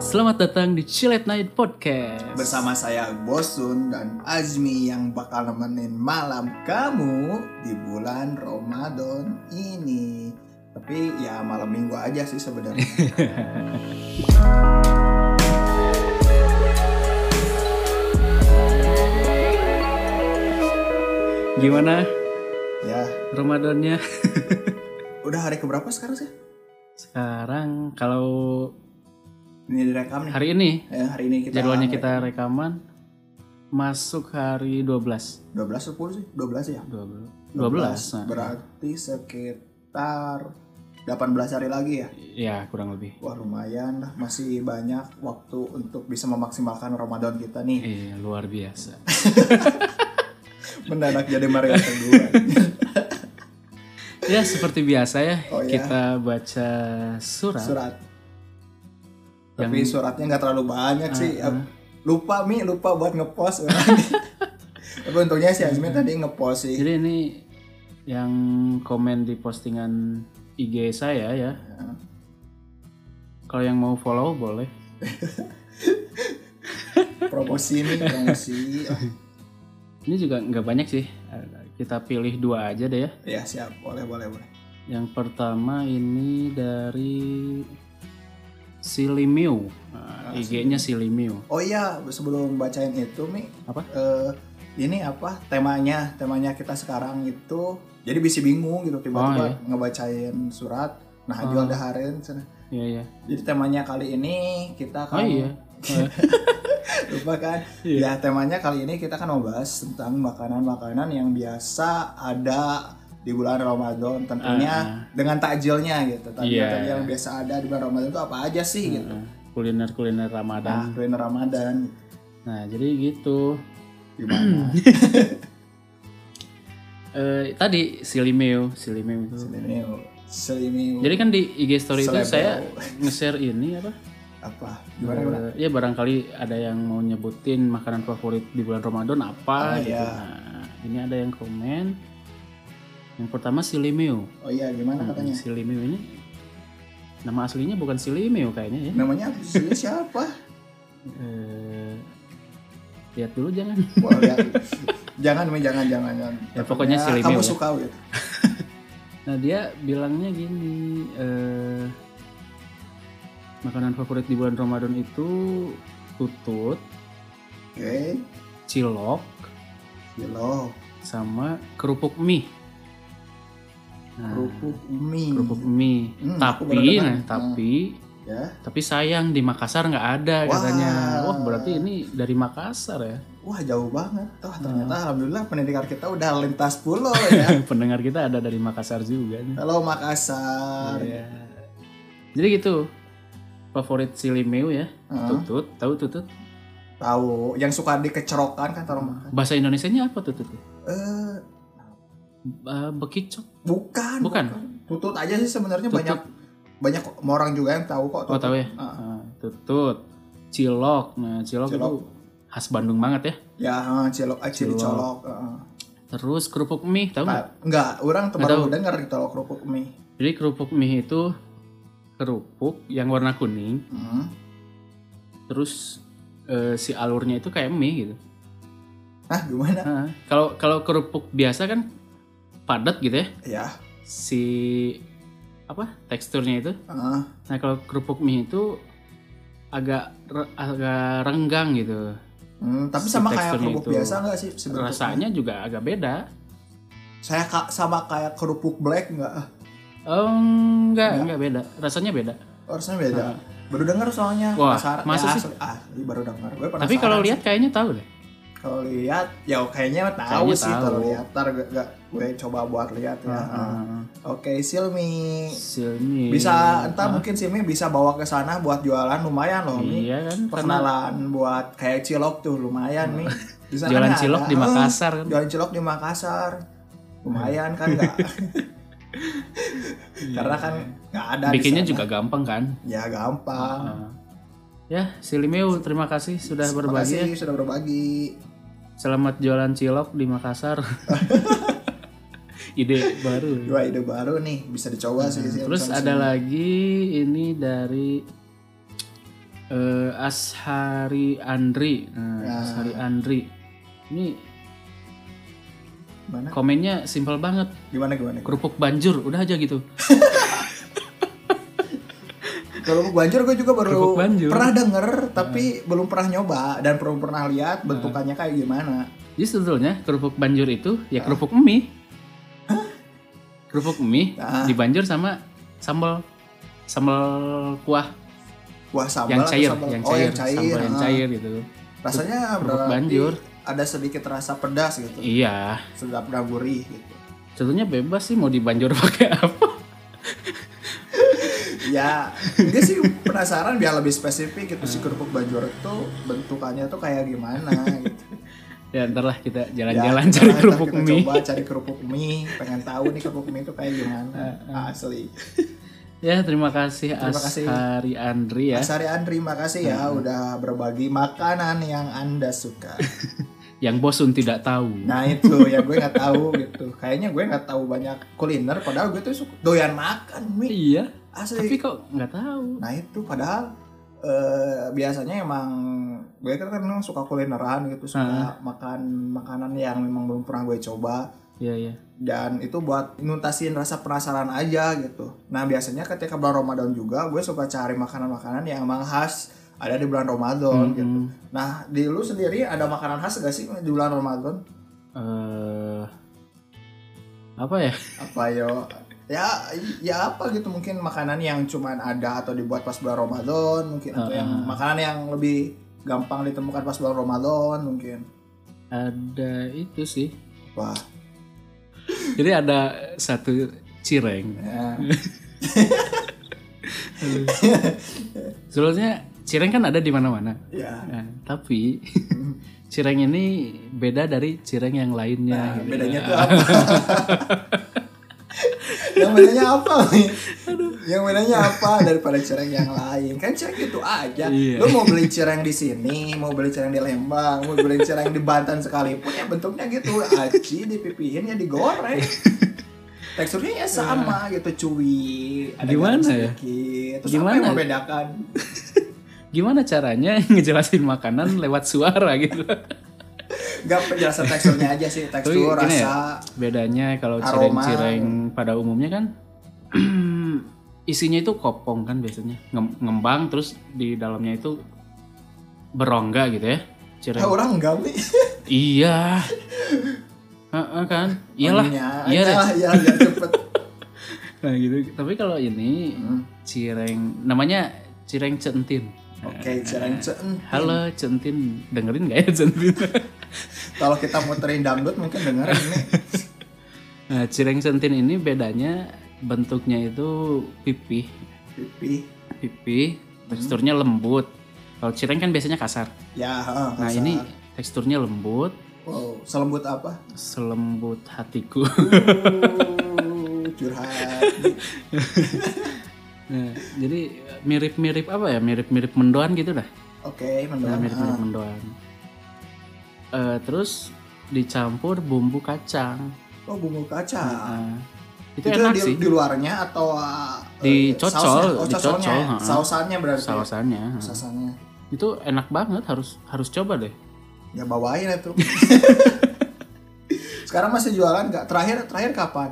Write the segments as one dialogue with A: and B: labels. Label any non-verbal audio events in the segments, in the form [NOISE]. A: Selamat datang di Chilet Night Podcast
B: Bersama saya Bosun dan Azmi yang bakal nemenin malam kamu di bulan Ramadan ini. Tapi ya malam minggu aja sih sebenarnya.
A: [LAUGHS] Gimana
B: ya,
A: Ramadannya?
B: udah hari keberapa sekarang sih?
A: Sekarang kalau
B: Ini direkam nih.
A: hari ini
B: Eh, hari ini kita
A: jadwalnya kita rekaman Masuk hari 12
B: 12 10 sih? 12 ya?
A: 12 12 nah,
B: Berarti sekitar 18 hari lagi ya?
A: Ya kurang lebih
B: Wah lumayan lah, masih banyak waktu untuk bisa memaksimalkan Ramadan kita nih.
A: Iya luar biasa
B: Mendadak jadi
A: [LAUGHS]
B: Mario kedua.
A: Ya seperti biasa ya
B: Oh, ya.
A: Kita baca surat,
B: surat tapi suratnya nggak terlalu banyak sih
A: Ah,
B: lupa mi lupa buat ngepost [LAUGHS] tapi untungnya si Azmi tadi ngepost
A: Hmm.
B: sih
A: Jadi ini yang komen di postingan IG saya ya Kalau yang mau follow boleh
B: promosi nih promosi [LAUGHS] Ah,
A: Ini juga nggak banyak sih. Kita pilih dua aja deh ya.
B: ya siap boleh boleh boleh
A: Yang pertama ini dari Silimiu. Nah, IG-nya Silimiu.
B: oh iya sebelum bacain itu mi
A: Apa?
B: eh, ini apa temanya temanya kita sekarang itu jadi bisa bingung gitu
A: Oh, iya.
B: tiba-tiba
A: Ah.
B: ngebacain surat nah jual daharin sana.
A: Iya iya.
B: jadi temanya kali ini
A: Oh
B: kita akan
A: iya. Eh,
B: lupa kan
A: Iya.
B: ya temanya kali ini kita kan mau bahas tentang makanan-makanan yang biasa ada di bulan Ramadan tentunya dengan takjilnya gitu takjil
A: Ah. Iya.
B: takjil yang biasa ada di bulan Ramadan itu apa aja sih gitu
A: eh, Kuliner-kuliner Ramadan.
B: nah kuliner Ramadan gitu.
A: Nah, jadi gitu. Hmm.
B: [LAUGHS] gimana
A: Eh, tadi Silimiu, Silimiu itu.
B: selimiu selimiu
A: Jadi kan di IG story itu
B: Selebel.
A: saya nge-share ini apa?
B: apa gimana gimana
A: Eh, ya barangkali ada yang mau nyebutin makanan favorit di bulan Ramadan apa
B: Ah,
A: gitu.
B: iya.
A: Nah, ini ada yang komen. Yang pertama Silimeu.
B: oh iya
A: Hmm.
B: gimana katanya
A: Silimeu ini nama aslinya bukan Silimeu kayaknya ya.
B: namanya apa sih? siapa
A: Eh, lihat dulu jangan.
B: Wah, lihat. jangan Mi, jangan jangan jangan
A: Ya, pokoknya selimiu
B: kamu
A: ya.
B: suka gitu
A: Nah, dia bilangnya gini, eh makanan favorit di bulan Ramadan itu tutut,
B: oke
A: cilok,
B: gelo
A: sama kerupuk mie. Nah,
B: kerupuk mie
A: kerupuk mie.
B: Hmm, aku baru
A: tapi,
B: dengar.
A: nah, tapi,
B: ya
A: tapi sayang di Makassar nggak ada
B: Wah.
A: katanya. Wah berarti ini dari Makassar ya. [LAUGHS]
B: Wah jauh banget. Wah ternyata alhamdulillah pendengar kita udah lintas pulau ya.
A: [LAUGHS] Pendengar kita ada dari Makassar juga. nih.
B: Halo Makassar.
A: Iya. Jadi gitu favorit silimeu ya.
B: Heeh.
A: Tutut, tahu tutut?
B: Tahu yang suka dikecerokan kan kalau makan.
A: Bahasa Indonesianya apa tutut?
B: Eh
A: Eh, bekicot.
B: bukan.
A: Bukan?
B: Tutut aja sih sebenarnya
A: Tutut.
B: banyak banyak orang juga yang tahu kok.
A: Oh tahu ya.
B: Ah.
A: Ah, tutut, cilok. Nah cilok,
B: Cilok.
A: itu khas Bandung banget ya.
B: Ya ah, cilok, ah, cili
A: Cilok.
B: colok. ah.
A: Terus kerupuk mie tahu nggak?
B: Ah, Enggak, orang
A: Nggak
B: baru
A: tahu.
B: dengar ditolok kerupuk mie.
A: Jadi kerupuk mie itu kerupuk yang warna kuning.
B: Hmm.
A: Terus eh, si alurnya itu kayak mie gitu.
B: Nah gimana?
A: Ah, Kalau kalau kerupuk biasa kan padat gitu ya.
B: Ya,
A: Si apa teksturnya itu
B: ah,
A: Nah kalau kerupuk mie itu agak re- agak renggang gitu.
B: hmm, tapi
A: Si
B: sama kayak
A: teksturnya
B: kerupuk
A: itu.
B: biasa nggak sih? sebenarnya?
A: Rasanya juga agak beda.
B: Saya ka- sama kayak kerupuk black nggak? Ah,
A: Oh, enggak,
B: Iya.
A: enggak beda. Rasanya beda.
B: Oh, Rasanya beda. Baru dengar soalnya.
A: Hmm. Wah,
B: Penasaran.
A: masa
B: Ya,
A: sih?
B: asli- asli baru dengar. Gue
A: Tapi
B: penasaran
A: kalau
B: sih.
A: lihat kayaknya tahu deh.
B: kalau lihat ya kayaknya tahu
A: Kayaknya
B: sih
A: tahu. Hmm.
B: kalau lihat. Ntar gue, gak- gue coba buat lihat ya. Oke, Silmi.
A: Silmi.
B: Bisa entar mungkin Silmi bisa bawa ke sana buat jualan lumayan loh, Mi.
A: Iya kan? Karena
B: Perkenalan buat kayak cilok tuh lumayan, Mi. Di sana
A: Hmm. jualan
B: kan
A: cilok
B: ada.
A: di
B: Eh,
A: Makassar kan.
B: Jualan cilok di Makassar. Lumayan kan
A: [LAUGHS]
B: enggak?
A: Iya.
B: Karena kan nggak ada di
A: Bikinnya
B: sana.
A: juga gampang kan?
B: ya gampang.
A: Ah. Ya, Silimeu terima kasih sudah berbagi. ya.
B: Makasih sudah berbagi.
A: Selamat jualan cilok di [LAUGHS] Makassar. Ide baru.
B: Dua ide baru
A: Hmm,
B: nih bisa dicoba sih. sih,
A: Terus
B: bisa
A: ada lagi ini dari eh, Ashari Andri. Nah,
B: Ya.
A: Ashari Andri. Ini
B: Mana?
A: komennya simpel banget.
B: Gimana gimana?
A: Kerupuk banjur, udah aja gitu.
B: Kalau banjur gue juga baru
A: Kerupuk banjur. Hmm.
B: pernah denger tapi belum pernah nyoba dan belum pernah lihat bentukannya kayak gimana.
A: Jadi sebetulnya kerupuk banjur itu ya kerupuk mie. Kerupuk mie
B: Ah.
A: dibanjur sama sambal sambal kuah
B: Kuah sambal
A: yang
B: atau
A: cair,
B: sambal?
A: yang
B: oh,
A: cair,
B: yang cair.
A: sambal yang
B: ah.
A: cair gitu.
B: Rasanya
A: Kerupuk
B: berarti
A: banjur.
B: ada sedikit rasa pedas gitu.
A: Iya,
B: Sedap dan gurih gitu.
A: sebetulnya bebas sih mau dibanjur [LAUGHS] pakai apa.
B: Ya, gue sih penasaran biar lebih spesifik gitu si
A: Hmm.
B: kerupuk banjur itu bentukannya tuh kayak gimana gitu.
A: Ya ntar lah kita
B: Ya,
A: jalan-jalan
B: kita-
A: cari
B: kita
A: kerupuk mie.
B: Coba cari kerupuk mie, pengen tahu nih kerupuk mie itu kayak
A: [LAUGHS]
B: gimana.
A: Ah,
B: Asli.
A: Ya terima kasih
B: Terima kasih.
A: Ashari Andri ya, Ah,
B: Asari Andri, makasih ya udah berbagi makanan yang Anda suka.
A: yang bosun tidak tahu.
B: Nah itu ya gue nggak tahu gitu. Kayaknya gue nggak tahu banyak kuliner. Padahal gue tuh suka doyan makan mie
A: Iya, tapi
B: asli.
A: kok nggak tahu.
B: Nah itu padahal eh, biasanya emang gue kan kan memang suka kulineran gitu,
A: Ah.
B: suka makan makanan yang memang belum pernah gue coba
A: Iya iya.
B: dan itu buat nuntasin rasa penasaran aja gitu. Nah biasanya ketika bulan Ramadan juga gue suka cari makanan-makanan yang emang khas ada di bulan Ramadan gitu.
A: Mm-mm.
B: Nah, di lu sendiri ada makanan khas gak sih di bulan Ramadan?
A: Eh, apa ya?
B: Apa yo? Ya, ya apa gitu mungkin makanan yang cuman ada atau dibuat pas bulan Ramadan mungkin atau yang
A: Heeh.
B: makanan yang lebih gampang ditemukan pas bulan Ramadan mungkin.
A: Ada itu sih.
B: Wah.
A: Jadi ada satu cireng.
B: Ya.
A: Sebetulnya cireng kan ada di mana-mana.
B: ya.
A: Nah, tapi cireng ini beda dari cireng yang lainnya.
B: Nah,
A: gitu.
B: bedanya tuh apa? [LAUGHS] yang bedanya apa Mi? Yang bedanya apa daripada cireng yang lain? Kan cireng itu aja.
A: Iya.
B: Lu mau beli cireng di sini, mau beli cireng di Lembang, mau beli cireng di Banten sekalipun ya bentuknya gitu, aci dipipihin ya digoreng. Teksturnya ya sama gitu, cuy.
A: Nah. Gimana
B: garam
A: ya?
B: sedikit. Terus apa
A: Gimana? ya?
B: yang membedakan?
A: Gimana caranya [LAUGHS] ngejelasin makanan lewat suara gitu?
B: Gak penjelasan teksturnya aja sih,
A: Tapi
B: tekstur,
A: gini ya,
B: rasa.
A: bedanya kalau
B: Aroma.
A: cireng-cireng pada umumnya kan [CLEARS THROAT] isinya itu kopong kan biasanya Ngem- ngembang terus di dalamnya itu berongga gitu ya cireng
B: Ah, orang enggak, Mi.
A: iya Heeh kan iyalah
B: iya
A: iya deh.
B: lah, iya, iya,
A: [LAUGHS]
B: cepet.
A: nah gitu tapi kalau ini
B: Hmm.
A: cireng namanya cireng centin
B: Oke, jalan cen.
A: halo centin dengerin gak ya centin [LAUGHS]
B: Kalau kita muterin dangdut mungkin dengerin nih.
A: nah cireng centin ini bedanya bentuknya itu pipih
B: Pipi.
A: pipih teksturnya lembut kalau cireng kan biasanya kasar
B: Ya, heeh,
A: nah
B: kasar.
A: ini teksturnya lembut
B: wow, selembut apa?
A: selembut hatiku [LAUGHS]
B: Uh, curhat.
A: nah, jadi mirip-mirip apa ya mirip-mirip mendoan gitu dah
B: Oke,
A: Nah,
B: mendoan.
A: mirip-mirip
B: ah.
A: mendoan Eh, terus dicampur bumbu kacang
B: Oh, bumbu kaca.
A: Nah, itu,
B: Itu,
A: enak
B: di,
A: sih
B: di luarnya atau ah, eh,
A: Dicocol,
B: sausnya? Oh,
A: dicocol,
B: cocolnya.
A: heeh.
B: Sausannya berarti.
A: sausannya
B: Sausannya.
A: itu enak banget harus harus coba deh
B: Ya bawain itu. Sekarang masih jualan nggak? Terakhir terakhir kapan?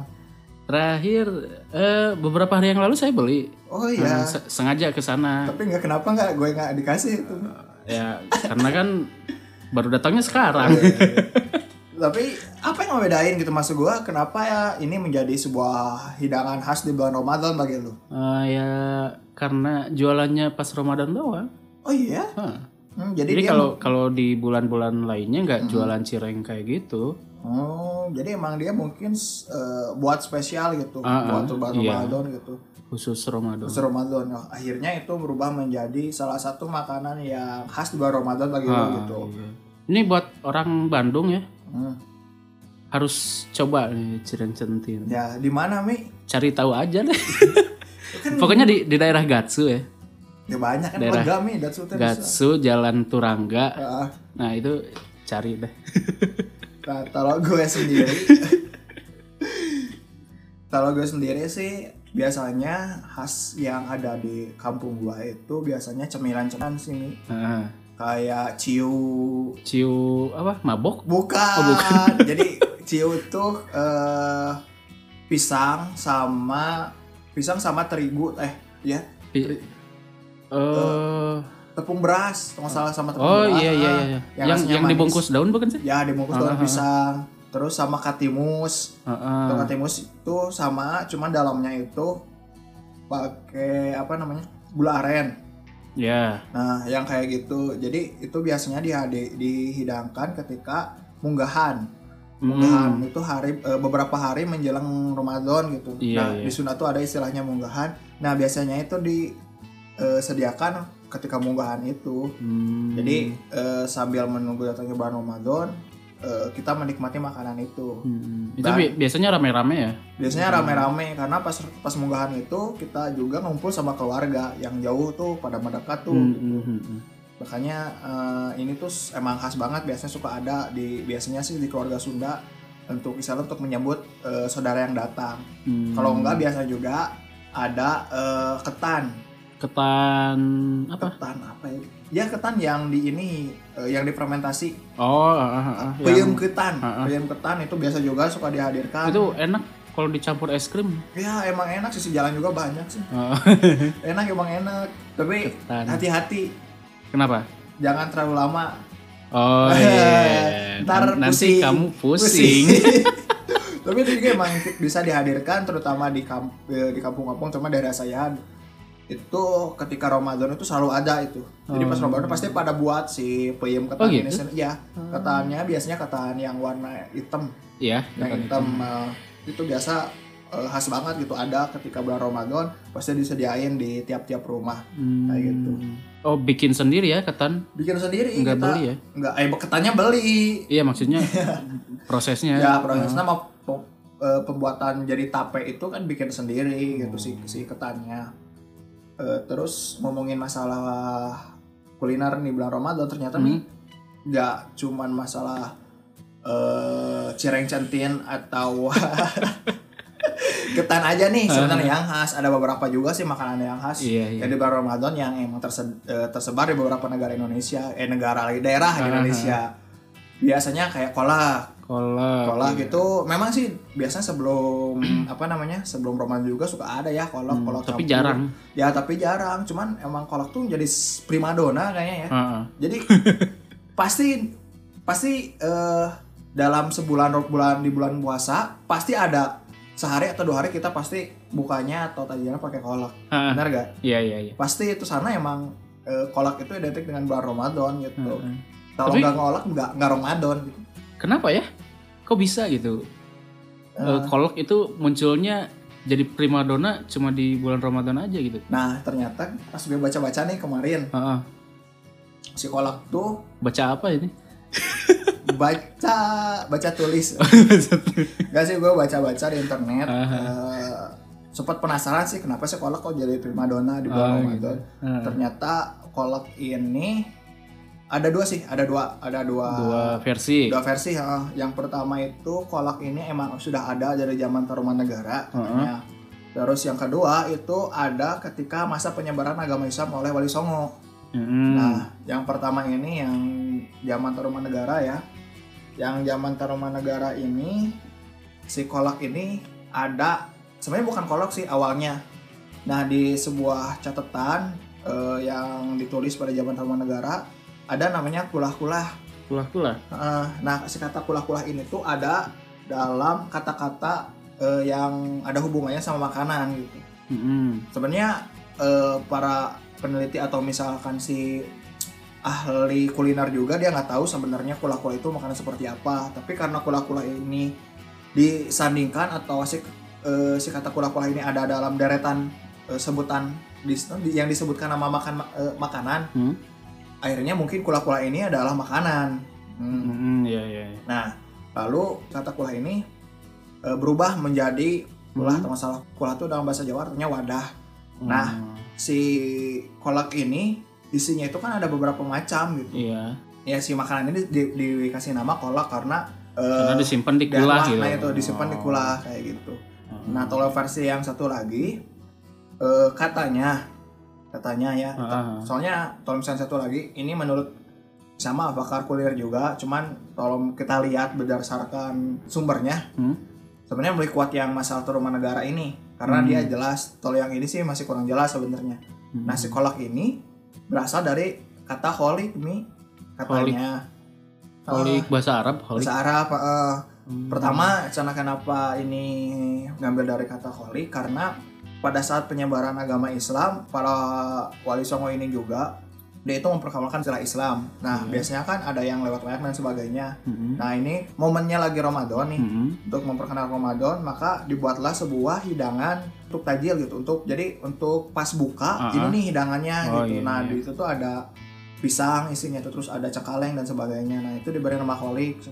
A: terakhir eh, beberapa hari yang lalu saya beli Nah,
B: Oh iya.
A: se- sengaja ke sana
B: Tapi nggak kenapa nggak gue nggak dikasih itu.
A: ya karena kan baru datangnya
B: Iya,
A: sekarang
B: Tapi apa yang ngebedain gitu masuk gua kenapa ya ini menjadi sebuah hidangan khas di bulan Ramadan bagi lu?
A: Eh, ya karena jualannya pas Ramadan doang
B: Oh iya.
A: Hah.
B: Hmm, jadi,
A: jadi
B: dia
A: kalau kalau di bulan-bulan lainnya nggak jualan cireng kayak gitu
B: Oh, jadi emang dia mungkin eh, buat spesial gitu,
A: Ah,
B: buat
A: ah,
B: bulan
A: iya.
B: Ramadan gitu.
A: khusus Ramadan
B: Pas Ramadan Nah, akhirnya itu berubah menjadi salah satu makanan yang khas di bulan Ramadan bagi lu
A: Ah,
B: gitu.
A: iya. ini buat orang Bandung ya
B: Hmm.
A: harus coba nih cireng centin
B: Ya, di mana, Mi?
A: cari tahu aja deh
B: Kan
A: [LAUGHS] pokoknya di, di daerah Gatsu ya
B: Ya banyak kan
A: Daerah.
B: lega, Mi, dan sudah bisa.
A: Gatsu Jalan Turangga
B: Ah,
A: nah itu cari deh
B: Nah, kalau gue sendiri, kalau gue sendiri sih biasanya khas yang ada di kampung gua itu biasanya cemilan-cemilan sini
A: Heeh.
B: kayak ciu
A: Nah, ciu apa mabok
B: bukan,
A: Oh, bukan.
B: [LAUGHS] jadi ciu tuh eh, pisang sama pisang sama terigu eh ya
A: Pi- eh
B: tepung beras kalau nggak salah sama tepung
A: oh
B: beras
A: iya iya iya
B: eh, Yang
A: yang
B: rasanya
A: yang
B: manis.
A: dibungkus daun bukan sih
B: ya dibungkus
A: Ah,
B: daun
A: ah, ah.
B: pisang terus sama katimus
A: Heeh.
B: Tuh, katimus itu sama cuman dalamnya itu pakai apa namanya gula aren
A: ya
B: Nah, yang kayak gitu. Jadi itu biasanya dihadi- dihidangkan ketika munggahan. Nah, Munggahan
A: Hmm.
B: itu hari eh, beberapa hari menjelang Ramadan gitu.
A: Iya,
B: nah,
A: iya.
B: di sunnah tuh ada istilahnya munggahan. Nah, biasanya itu disediakan ketika munggahan itu.
A: Hmm.
B: Jadi eh, sambil menunggu datangnya bulan Ramadan, eh, kita menikmati makanan itu.
A: Hmm. itu
B: Ban-
A: bi- biasanya rame-rame ya
B: Biasanya
A: Hmm.
B: rame-rame karena pas pas munggahan itu kita juga ngumpul sama keluarga yang jauh tuh pada mendekat tuh.
A: Hmm,
B: gitu.
A: hmm, hmm, hmm.
B: makanya eh, ini tuh s- emang khas banget biasanya suka ada di biasanya sih di keluarga Sunda untuk misalnya untuk menyambut eh, saudara yang datang
A: Hmm.
B: kalau enggak biasa juga ada eh, ketan
A: ketan apa
B: ketan apa ya ya ketan yang di ini eh, yang difermentasi
A: oh ah, ah, ah,
B: peyem
A: yang-
B: ketan
A: Ah, ah.
B: peyem ketan itu biasa juga suka dihadirkan
A: itu enak kalau dicampur es krim
B: ya emang enak sisi jalan juga banyak sih
A: Oh,
B: enak emang enak tapi
A: ketan.
B: hati-hati
A: [LAUGHS] kenapa
B: jangan terlalu lama [LAUGHS]
A: Oh iya.
B: Ntar
A: nanti
B: pusing. [LAUGHS]
A: kamu [LAUGHS] pusing.
B: Tapi itu juga emang bisa dihadirkan terutama di kamp eh, di kampung-kampung cuma daerah saya itu ketika Ramadan itu selalu ada itu. Jadi pas
A: Oh.
B: Ramadan pasti pada buat si peyem ketan
A: Oh, gitu?
B: ini sen- ya, ketannya biasanya ketan yang warna hitam,
A: ya,
B: yang hitam eh, itu biasa eh, khas banget gitu ada ketika bulan Ramadan pasti disediain di tiap-tiap rumah
A: Hmm.
B: kayak gitu.
A: Oh, bikin sendiri ya ketan?
B: Bikin sendiri
A: Enggak
B: kita
A: beli ya?
B: enggak eh ketannya beli.
A: Iya,
B: [LAUGHS]
A: maksudnya prosesnya.
B: ya prosesnya mau pe- eh, pembuatan jadi tape itu kan bikin sendiri gitu
A: Hmm.
B: si si ketannya Eh, terus ngomongin masalah kuliner nih bulan Ramadan ternyata nih
A: Hmm.
B: nggak cuman masalah eh cireng centin atau [LAUGHS] ketan aja nih sebenarnya yang khas ada beberapa juga sih makanan yang
A: Ah.
B: khas
A: Iya, iya.
B: jadi bulan Ramadan yang emang terse- eh, tersebar di beberapa negara Indonesia eh negara daerah di
A: Ah.
B: Indonesia biasanya kayak kolak
A: Kolak.
B: kolak
A: iya.
B: gitu memang sih biasanya sebelum
A: [CLEARS THROAT]
B: apa namanya sebelum Ramadan juga suka ada ya kolak
A: Hmm,
B: kolak
A: tapi
B: campur. [LAUGHS]
A: jarang.
B: ya tapi jarang cuman emang kolak tuh jadi s- primadona kayaknya
A: [LAUGHS]
B: ya
A: Heeh.
B: jadi pasti pasti eh, dalam sebulan bulan di bulan puasa pasti ada sehari atau dua hari kita pasti bukanya atau tajilannya pakai kolak
A: Heeh.
B: benar gak
A: Iya, iya, iya.
B: pasti itu sana emang eh, kolak itu identik dengan bulan Ramadan gitu
A: Heeh.
B: kalau
A: Hmm, Tapi-
B: nggak kolak nggak nggak Ramadan gitu.
A: Kenapa ya? Kok bisa gitu? Eh,
B: Eh,
A: kolak itu munculnya jadi primadona cuma di bulan Ramadan aja gitu.
B: Nah ternyata pas gue baca-baca nih kemarin
A: Heeh.
B: si kolak tuh
A: Baca apa ini?
B: baca baca
A: [LAUGHS]
B: tulis gak sih gue baca-baca di internet
A: Aha.
B: eh, sempat penasaran sih kenapa sih kolak kok jadi primadona di
A: Oh,
B: bulan
A: gitu.
B: Ramadan
A: Heeh.
B: ternyata kolak ini ada dua sih ada dua ada dua
A: Dua versi.
B: dua versi heeh. yang pertama itu kolak ini emang sudah ada dari zaman Tarumanegara katanya terus yang kedua itu ada ketika masa penyebaran agama Islam oleh Wali Songo
A: Heeh.
B: Nah, yang pertama ini yang zaman Tarumanegara ya. Yang zaman Tarumanegara ini si kolak ini ada sebenarnya bukan kolak sih awalnya. Nah, di sebuah catatan eh, yang ditulis pada zaman Tarumanegara ada namanya kulah-kulah.
A: Kulah-kulah.
B: Eh, nah, si kata kulah-kulah ini tuh ada dalam kata-kata eh, yang ada hubungannya sama makanan gitu
A: Heeh.
B: sebenarnya eh, para peneliti atau misalkan si ahli kuliner juga dia nggak tahu sebenarnya kula-kula itu makanan seperti apa tapi karena kula-kula ini disandingkan atau si eh, si kata kula-kula ini ada dalam deretan eh, sebutan dis- yang disebutkan nama makan eh, makanan
A: Hmm.
B: akhirnya mungkin kula-kula ini adalah makanan Hmm.
A: Heeh, iya, iya. iya.
B: Nah, lalu kata kulah ini e, berubah menjadi kulah
A: Hmm.
B: atau salah kulah itu dalam bahasa Jawa artinya wadah. Nah.
A: Hmm,
B: Si kolak ini isinya itu kan ada beberapa macam gitu.
A: iya.
B: Ya si makanan ini di- di- dikasih nama kolak karena e,
A: Karena disimpan di
B: daerah,
A: kulah gitu.
B: nah itu disimpan di
A: Oh.
B: kulah kayak gitu. Nah, kalau versi yang satu lagi eh, katanya katanya ya.
A: Ah.
B: Soalnya tolong misalnya satu lagi ini menurut sama bakar kuliah juga, cuman tolong kita lihat berdasarkan sumbernya.
A: Hmm.
B: Sebenarnya lebih kuat yang masalah rumah negara ini karena
A: Hmm.
B: dia jelas. Kalau yang ini sih masih kurang jelas sebenarnya.
A: Hmm.
B: Nah, psikolog ini berasal dari kata holik nih katanya. Eh,
A: holik bahasa Arab, holik.
B: bahasa Arab, eh,
A: Hmm.
B: Pertama, sana kenapa ini ngambil dari kata holy karena pada saat penyebaran agama Islam, para wali songo ini juga dia itu memperkenalkan istilah Islam. Nah,
A: Hmm.
B: biasanya kan ada yang lewat layar dan sebagainya.
A: Hmm.
B: Nah, ini momennya lagi Ramadan nih.
A: Hmm.
B: Untuk memperkenalkan Ramadan, maka dibuatlah sebuah hidangan untuk tajil gitu. Untuk jadi untuk pas buka,
A: Ah,
B: ini nih hidangannya
A: Oh,
B: gitu.
A: iya,
B: nah,
A: iya.
B: di itu tuh ada pisang isinya tuh terus ada cekaleng dan sebagainya. Nah, itu diberi nama holik.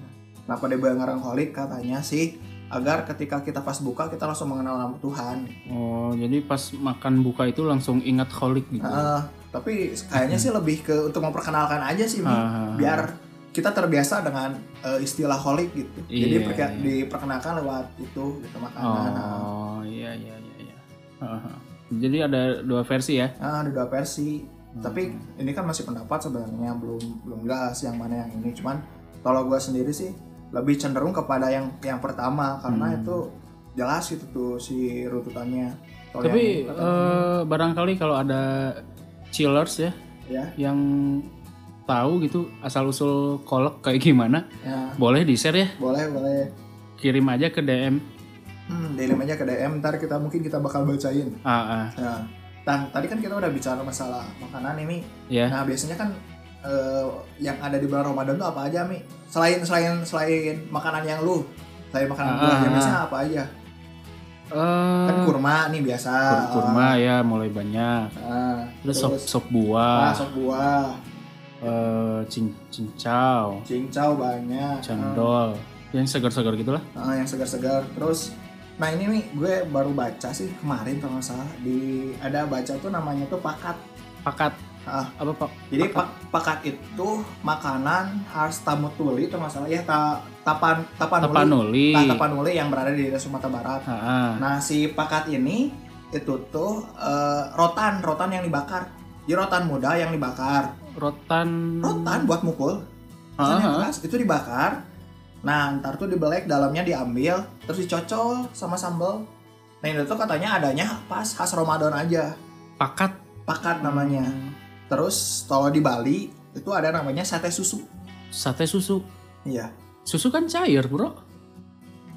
B: Kenapa diberi nama holik? Katanya sih agar ketika kita pas buka kita langsung mengenal nama Tuhan.
A: Oh, jadi pas makan buka itu langsung ingat holik gitu.
B: Nah, eh, tapi kayaknya sih lebih ke untuk memperkenalkan aja sih, Mi.
A: Ah.
B: biar kita terbiasa dengan eh, istilah holik gitu. Jadi
A: Iya,
B: perke-
A: iya.
B: diperkenalkan lewat itu gitu makanan. Nah,
A: Oh, iya iya iya iya. Ah. Jadi ada dua versi ya.
B: Ah, ada dua versi.
A: Hmm.
B: Tapi ini kan masih pendapat sebenarnya belum belum jelas yang mana yang ini. Cuman kalau gua sendiri sih lebih cenderung kepada yang yang pertama karena
A: Hmm.
B: itu jelas itu tuh si runtutannya. Kalau
A: Tapi
B: yang-
A: eh, barangkali kalau ada chillers ya
B: ya,
A: yang tahu gitu asal usul kolek kayak gimana,
B: ya,
A: boleh di share ya.
B: boleh boleh.
A: Kirim aja ke DM.
B: Hmm, DM aja ke DM ntar kita mungkin kita bakal bacain.
A: Ah, ah.
B: Nah, tan- tadi kan kita udah bicara masalah makanan ini.
A: ya.
B: Nah, biasanya kan eh, yang ada di bulan Ramadan tuh apa aja, Mi? Selain selain selain makanan yang lu, selain makanan
A: Ah,
B: gua, yang
A: ah,
B: biasanya apa aja?
A: Eh,
B: kan kurma nih biasa
A: kur- kurma ya mulai banyak.
B: Ah,
A: Terus sop sop
B: ah,
A: buah,
B: sop buah
A: eh, cin- cincau,
B: cincau banyak
A: cendol, yang segar-segar gitulah.
B: Ah, yang segar-segar terus nah ini nih gue baru baca sih kemarin kalau nggak salah di ada baca tuh namanya tuh pakat
A: Pakat.
B: Ah.
A: Apa pak?
B: jadi pak- pakat itu makanan khas tamutuli itu masalah ya ta, tapan tapanuli
A: Tapanuli.
B: Nah, tapanuli yang berada di daerah Sumatera Barat
A: Ah, ah.
B: nah si pakat ini itu tuh eh, rotan rotan yang dibakar jadi rotan muda yang dibakar
A: rotan.
B: rotan buat mukul
A: Ah,
B: Rotan yang
A: ah.
B: keras, itu dibakar nah ntar tuh dibelek dalamnya diambil terus dicocol sama sambal nah itu tuh katanya adanya pas khas Ramadan aja
A: Pakat.
B: pakat namanya terus kalau di Bali itu ada namanya sate susu
A: Sate susu.
B: iya
A: Susu kan cair bro.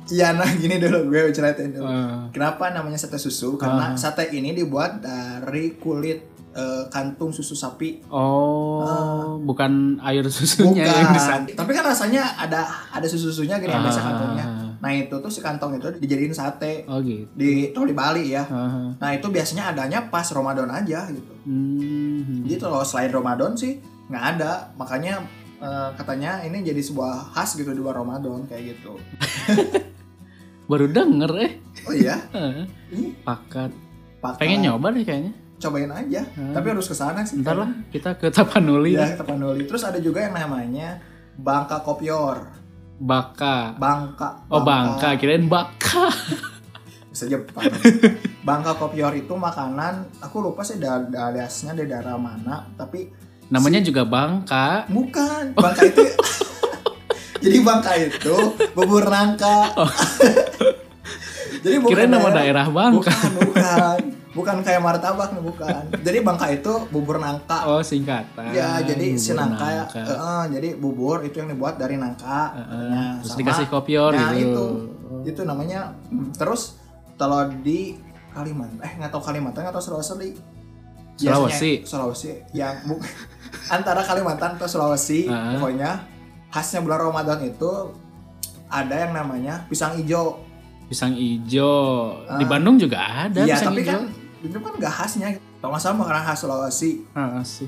B: iya nah gini dulu gue ceritain dulu
A: Eh,
B: kenapa namanya sate susu karena
A: Ah.
B: sate ini dibuat dari kulit eh, kantung susu sapi [LAUGHS]
A: oh,
B: Ah.
A: bukan air
B: Iya,
A: susunya yang di
B: Bukan. Tapi kan rasanya ada ada susu-susunya gini yang biasa
A: Ah.
B: kantongnya. Nah itu tuh si kantong itu dijadiin sate
A: Oh gitu.
B: di kalau di Bali ya.
A: Ah, ah.
B: Nah itu biasanya adanya pas Ramadan aja gitu.
A: Hmm.
B: Jadi kalau selain Ramadan sih nggak ada. Makanya eh, katanya ini jadi sebuah khas gitu di luar Ramadan kayak gitu.
A: Baru denger eh.
B: Oh iya.
A: Ah,
B: Ih,
A: Pakat.
B: pakai-
A: Pengen nyoba deh kayaknya.
B: Cobain aja.
A: Ah.
B: Ah. Tapi harus ke sana sih.
A: Ntar lah kita ke Tapanuli.
B: Ya, ke Tapanuli. Terus ada juga yang namanya Bangka Kopior.
A: Baka.
B: Bangka.
A: Oh bangka, kirain baka.
B: bisa
A: [LAUGHS]
B: Jepang. Bangka Kopior itu makanan, aku lupa sih da da- dasnya dari daerah mana, tapi
A: Namanya juga bangka.
B: bukan. Bangka itu ya.
A: [LAUGHS]
B: Jadi bangka itu bubur nangka. [LAUGHS] Jadi
A: Oh.
B: bukan
A: Kirain nama daerah bangka.
B: Bukan, bukan. Bukan kayak martabak nih, bukan. Jadi bangka itu bubur nangka.
A: Oh singkatan.
B: ya, jadi
A: Bubur
B: si nangka,
A: nangka.
B: eh, eh, jadi bubur itu yang dibuat dari nangka.
A: Ah, ah.
B: katanya.
A: Terus
B: Sama-
A: dikasih kopior
B: Nah,
A: gitu.
B: itu. itu namanya terus kalau di Kalimantan eh nggak tahu Kalimantan nggak tahu Sulawesi Biasanya
A: Sulawesi.
B: Sulawesi ya bu- [LAUGHS] antara Kalimantan atau Sulawesi
A: Ah.
B: pokoknya khasnya bulan Ramadan itu ada yang namanya pisang ijo
A: Pisang ijo. Di
B: Ah.
A: Bandung juga ada
B: Iya
A: pisang
B: tapi
A: ijo.
B: kan itu kan nggak khasnya kalau nggak salah makanan khas Sulawesi
A: Ah, sih.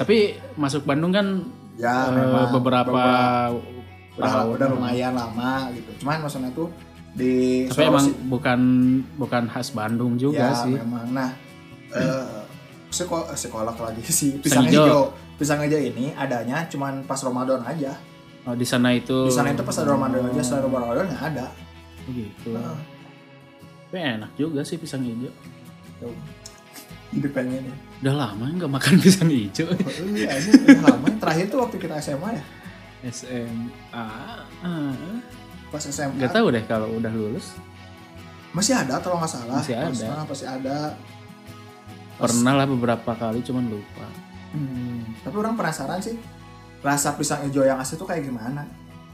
A: Tapi masuk Bandung kan
B: ya
A: eh,
B: memang
A: beberapa
B: udah,
A: tahun.
B: udah lumayan lama gitu cuman maksudnya tuh di
A: Tapi emang
B: Sulawesi
A: bukan bukan khas Bandung juga
B: ya,
A: sih.
B: memang. Nah, eh, psiko- psikolog lagi [LAUGHS] sih.
A: Pisang
B: Pisang,
A: hijau.
B: hijau. Pisang hijau ini adanya cuman pas Ramadan aja.
A: Oh, di sana itu Hmm.
B: Di sana itu pas ada Ramadan aja, selain Ramadan nggak ada.
A: Gitu.
B: Nah,
A: Tapi enak juga sih pisang hijau. [LAUGHS]
B: Tuh. Jadi pengen ya.
A: Udah lama nggak makan [LAUGHS] pisang hijau.
B: Oh, iya, ini udah lama. Terakhir tuh waktu kita SMA ya.
A: SMA.
B: Pas SMA.
A: Gak Ah, tahu deh kalau udah lulus.
B: Masih ada kalau nggak salah.
A: Masih ada.
B: Pas- ah, Pasti ada. Pas-
A: Pernah lah beberapa kali cuman lupa.
B: Hmm, Tapi orang penasaran sih. Rasa pisang hijau yang asli tuh kayak gimana?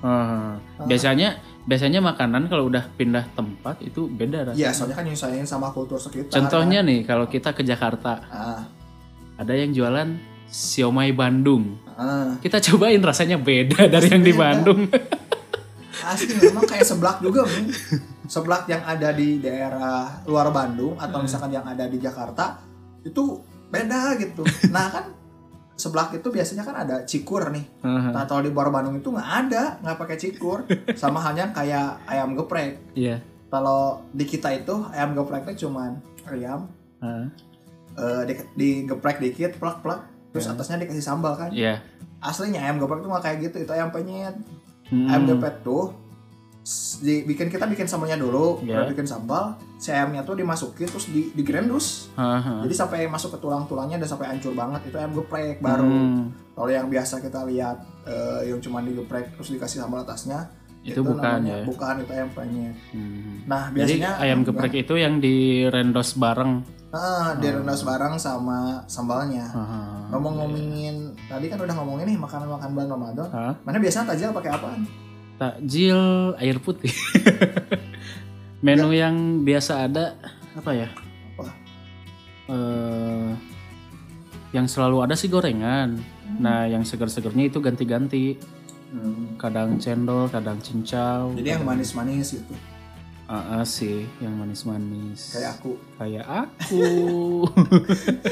A: Ah, Biasanya biasanya makanan kalau udah pindah tempat itu beda rasanya.
B: Iya, soalnya kan nyusahin sama kultur sekitar.
A: Contohnya nih kalau kita ke Jakarta
B: kan. Ah,
A: ada yang jualan siomay Bandung.
B: ah.
A: Kita cobain rasanya beda [LAUGHS] dari yang di
B: Beda.
A: Bandung.
B: Iya. Asli memang kayak seblak juga, Mi. Seblak yang ada di daerah luar Bandung atau misalkan yang ada di Jakarta itu beda gitu. Nah, kan seblak itu biasanya kan ada cikur nih.
A: Aha,
B: Nah, kalau di luar Bandung itu nggak ada, nggak pakai cikur. Sama halnya kayak ayam geprek.
A: Iya.
B: Kalau di kita itu ayam gepreknya cuman ayam
A: Ah,
B: eh, di, digeprek dikit, plak-plak, terus
A: Ya.
B: atasnya dikasih sambal kan.
A: Iya.
B: Aslinya ayam geprek tuh nggak kayak gitu, itu ayam penyet.
A: Hmm,
B: ayam gepet tuh s- dibikin kita bikin sambalnya dulu,
A: Iya.
B: baru bikin sambal, si ayamnya tuh dimasukin terus di, digrendus.
A: aha.
B: Jadi sampai masuk ke tulang-tulangnya dan sampai hancur banget itu ayam geprek baru.
A: Hmm,
B: Kalau yang biasa kita lihat eh, yang cuma digeprek terus dikasih sambal atasnya,
A: itu, bukan
B: namanya-
A: ya.
B: Bukan itu ayam penyet.
A: Hmm.
B: Nah,
A: Jadi
B: biasanya
A: ayam geprek Hmm. itu yang direndos bareng.
B: Heeh, direndas bareng sama sambalnya.
A: Aha. iya.
B: Ngomong ngomongin tadi kan udah ngomongin nih makanan-makanan bulan Ramadan.
A: Hah?
B: Mana biasanya tajil pakai apaan?
A: Takjil air putih. [LAUGHS] Menu yang biasa ada apa ya?
B: Apa?
A: Eh, yang selalu ada sih gorengan. Nah, yang segar-segarnya itu ganti-ganti. Kadang cendol, kadang cincau.
B: Jadi yang manis-manis gitu,
A: Aa sih, yang manis-manis.
B: kayak aku.
A: Kayak aku. [LAUGHS]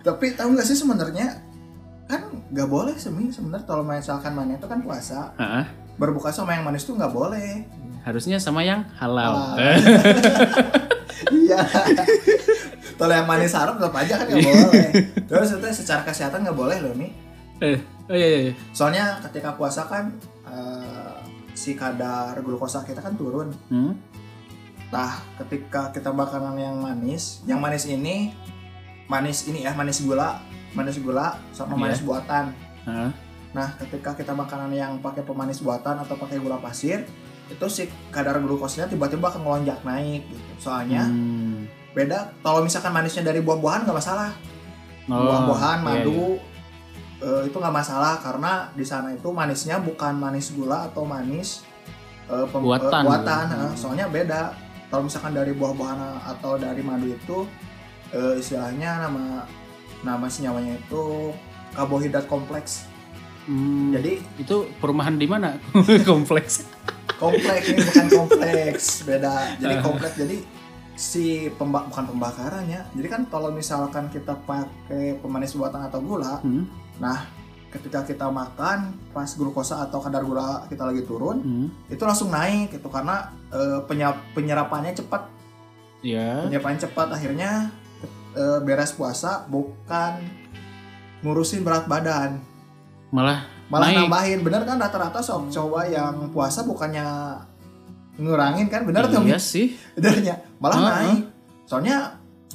B: Tapi tahu nggak sih sebenarnya kan nggak boleh semi sebenarnya kalau misalkan mana itu kan puasa
A: Aa,
B: berbuka sama yang manis tuh nggak boleh.
A: Ah, harusnya sama yang halal. Eh.
B: Halal. Iya. [LAUGHS] kalau yang manis haram tetap aja kan nggak boleh. Terus itu secara kesehatan nggak boleh loh nih.
A: Eh, oh iya, iya, iya.
B: Soalnya ketika puasa kan eh, si kadar glukosa kita kan turun.
A: Hmm?
B: Nah, ketika kita makanan yang manis, yang manis ini manis ini ya manis gula, manis gula sama
A: Iya.
B: manis buatan.
A: Hah?
B: Nah, ketika kita makanan yang pakai pemanis buatan atau pakai gula pasir, itu si kadar glukosnya tiba-tiba akan melonjak naik gitu. Soalnya
A: Hmm.
B: beda kalau misalkan manisnya dari buah-buahan nggak masalah.
A: Oh,
B: buah-buahan,
A: iya,
B: madu
A: iya.
B: eh, itu nggak masalah karena di sana itu manisnya bukan manis gula atau manis eh, pem-
A: Buatan.
B: eh, buatan, eh,
A: Hmm.
B: soalnya beda. Kalau misalkan dari buah-buahan atau dari madu itu eh, istilahnya nama nama senyawanya itu karbohidrat kompleks.
A: Hmm.
B: Jadi
A: Itu perumahan di mana? [LAUGHS] Kompleks.
B: kompleks ini bukan kompleks beda jadi kompleks jadi si pemba bukan pembakarannya jadi kan kalau misalkan kita pakai pemanis buatan atau gula
A: Hmm.
B: ketika kita makan pas glukosa atau kadar gula kita lagi turun
A: Hmm.
B: itu langsung naik itu karena eh, penyap- penyerapannya cepat
A: Ya.
B: penyerapannya cepat akhirnya eh, beres puasa bukan ngurusin berat badan
A: Malah
B: malah
A: Naik.
B: nambahin bener kan rata-rata sok cowok yang puasa bukannya ngurangin kan bener tuh
A: iya sih.
B: Udaranya malah
A: Heeh.
B: naik. Soalnya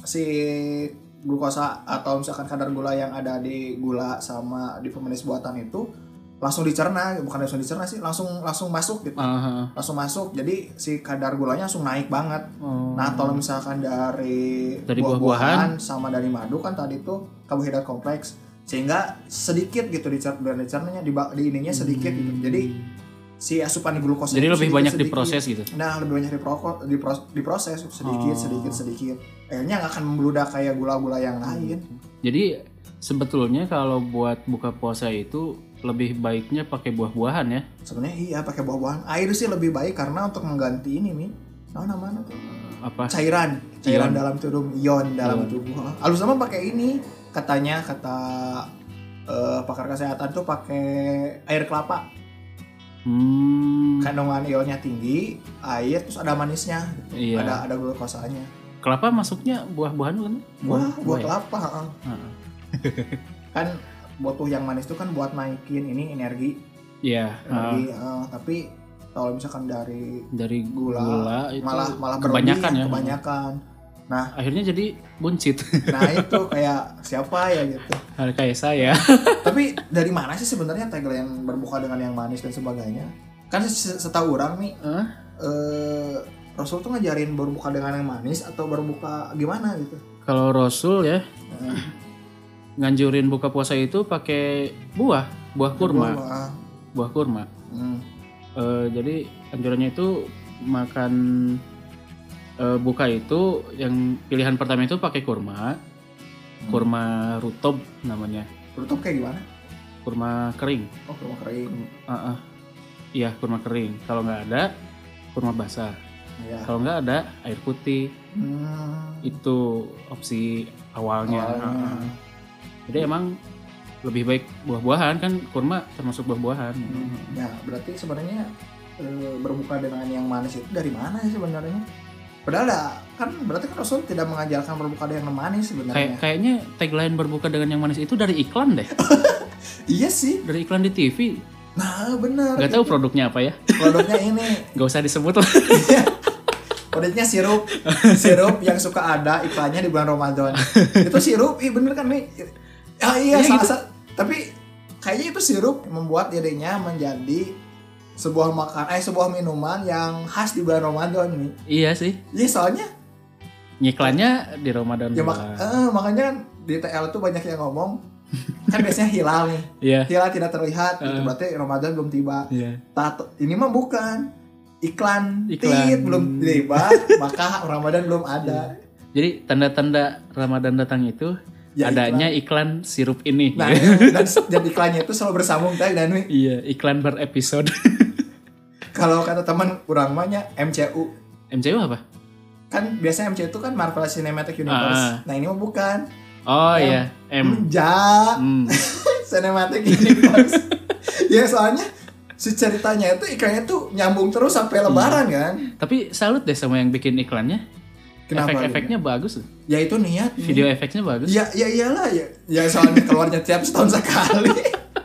B: si glukosa atau misalkan kadar gula yang ada di gula sama di pemanis buatan itu langsung dicerna, bukan langsung dicerna sih, langsung langsung masuk gitu.
A: Aha.
B: Langsung masuk. Jadi si kadar gulanya langsung naik banget.
A: Oh.
B: Nah, kalau misalkan dari,
A: Dari
B: buah-buahan sama dari madu kan tadi itu karbohidrat kompleks sehingga sedikit gitu dicer dan dicernanya di, ba- di ininya sedikit gitu. Jadi si asupan glukosa
A: Hmm. jadi
B: itu
A: lebih banyak
B: sedikit-sedikit.
A: diproses gitu.
B: Nah, lebih banyak diproko- dipros- diproses sedikit,
A: Oh.
B: sedikit, sedikit. Akhirnya nggak akan membludak kayak gula-gula
A: Hmm.
B: yang lain.
A: Jadi sebetulnya kalau buat buka puasa itu lebih baiknya pakai buah-buahan ya.
B: Sebenarnya iya pakai buah-buahan. Air sih lebih baik karena untuk mengganti ini mi. Nah, namanya tuh
A: Apa?
B: cairan,
A: Ah. Ion.
B: cairan
A: Hmm.
B: dalam tubuh, ion dalam
A: Ion.
B: tubuh. Alus sama pakai ini katanya kata eh, pakar kesehatan tuh pakai air kelapa.
A: Hmm.
B: Kandungan ionnya tinggi, air terus ada manisnya, gitu.
A: Iya.
B: ada ada glukosanya.
A: Kelapa masuknya buah-buahan kan?
B: Wah, buat
A: ya?
B: kelapa. heeh.
A: Heeh.
B: kan butuh yang manis itu kan buat naikin ini energi
A: Iya. heeh.
B: energi eh, tapi kalau misalkan dari
A: dari
B: Gula,
A: gula, itu
B: malah malah berlebih,
A: kebanyakan ya
B: kebanyakan nah
A: akhirnya jadi buncit [LAUGHS]
B: nah itu kayak siapa ya gitu
A: Hal kayak saya
B: tapi dari mana sih sebenarnya tagline berbuka dengan yang manis dan sebagainya kan se- setahu orang nih
A: Hah?
B: eh, Rasul tuh ngajarin berbuka dengan yang manis atau berbuka gimana gitu
A: kalau Rasul ya
B: Eh,
A: nganjurin buka puasa itu pakai buah buah kurma
B: berbuka.
A: buah kurma
B: Hmm.
A: Eh, jadi anjurannya itu makan eh, buka itu yang pilihan pertama itu pakai kurma kurma rutob namanya
B: Tutup kayak gimana?
A: kurma kering
B: Oh, kurma kering.
A: Ah, ah. iya kurma kering kalau nggak ada kurma basah
B: Ya.
A: kalau nggak ada air putih
B: Hmm. Oh, iya.
A: itu opsi awalnya
B: Awalnya.
A: Ah, ah. jadi emang lebih baik buah-buahan kan kurma termasuk buah-buahan
B: Hmm. Ya, berarti sebenarnya eh, berbuka dengan yang manis itu dari mana sih sebenarnya? Padahal ya, kan berarti kan Rasul tidak mengajarkan berbuka dengan yang
A: Kayak
B: manis sebenarnya.
A: kayaknya tagline berbuka dengan yang manis itu dari iklan deh
B: Iya sih.
A: dari iklan di TV
B: Nah, benar. [LAUGHS]
A: nggak tahu produknya apa ya
B: Produknya ini,
A: nggak usah disebut lah
B: produknya sirup. Sirup yang suka ada iklannya di bulan
A: [LAUGHS]
B: Ramadan. Itu sirup, ih bener kan nih? Ah iya,
A: Iya
B: salah
A: gitu.
B: sa- Tapi kayaknya itu sirup yang membuat dirinya menjadi sebuah makan eh sebuah minuman yang khas di bulan Ramadan nih.
A: [LAUGHS] iya sih
B: Iya, soalnya
A: iklannya di Ramadan
B: Ya mak
A: doang.
B: eh, makanya kan di TL tuh banyak yang ngomong kan biasanya hilal
A: [LAUGHS]
B: nih.
A: iya
B: Hilal tidak terlihat gitu
A: Eh.
B: berarti Ramadan belum tiba.
A: iya
B: Tato ini mah bukan iklan,
A: Iklan.
B: tit belum
A: [LAUGHS]
B: tiba maka Ramadan belum ada.
A: jadi tanda-tanda Ramadan datang itu
B: Ya,
A: Iya. adanya iklan. sirup ini
B: Nah,
A: [LAUGHS]
B: dan, dan iklannya itu selalu bersambung tadi dan Wi.
A: iya iklan per [LAUGHS] episode
B: kalau kata teman kurang mahnya MCU
A: MCU apa
B: kan biasanya MCU itu kan Marvel Cinematic Universe. Nah, ini mah bukan.
A: oh
B: M.
A: iya Ah. M
B: Ja.
A: Hmm.
B: cinematic
A: [LAUGHS]
B: universe ya soalnya si ceritanya itu iklannya tuh nyambung terus sampai
A: Hmm.
B: lebaran kan
A: tapi salut deh sama yang bikin iklannya
B: Kenapa gitu?
A: efek-efeknya bagus loh.
B: ya itu niat nih.
A: video efeknya bagus
B: ya ya iyalah ya ya soalnya keluarnya tiap setahun sekali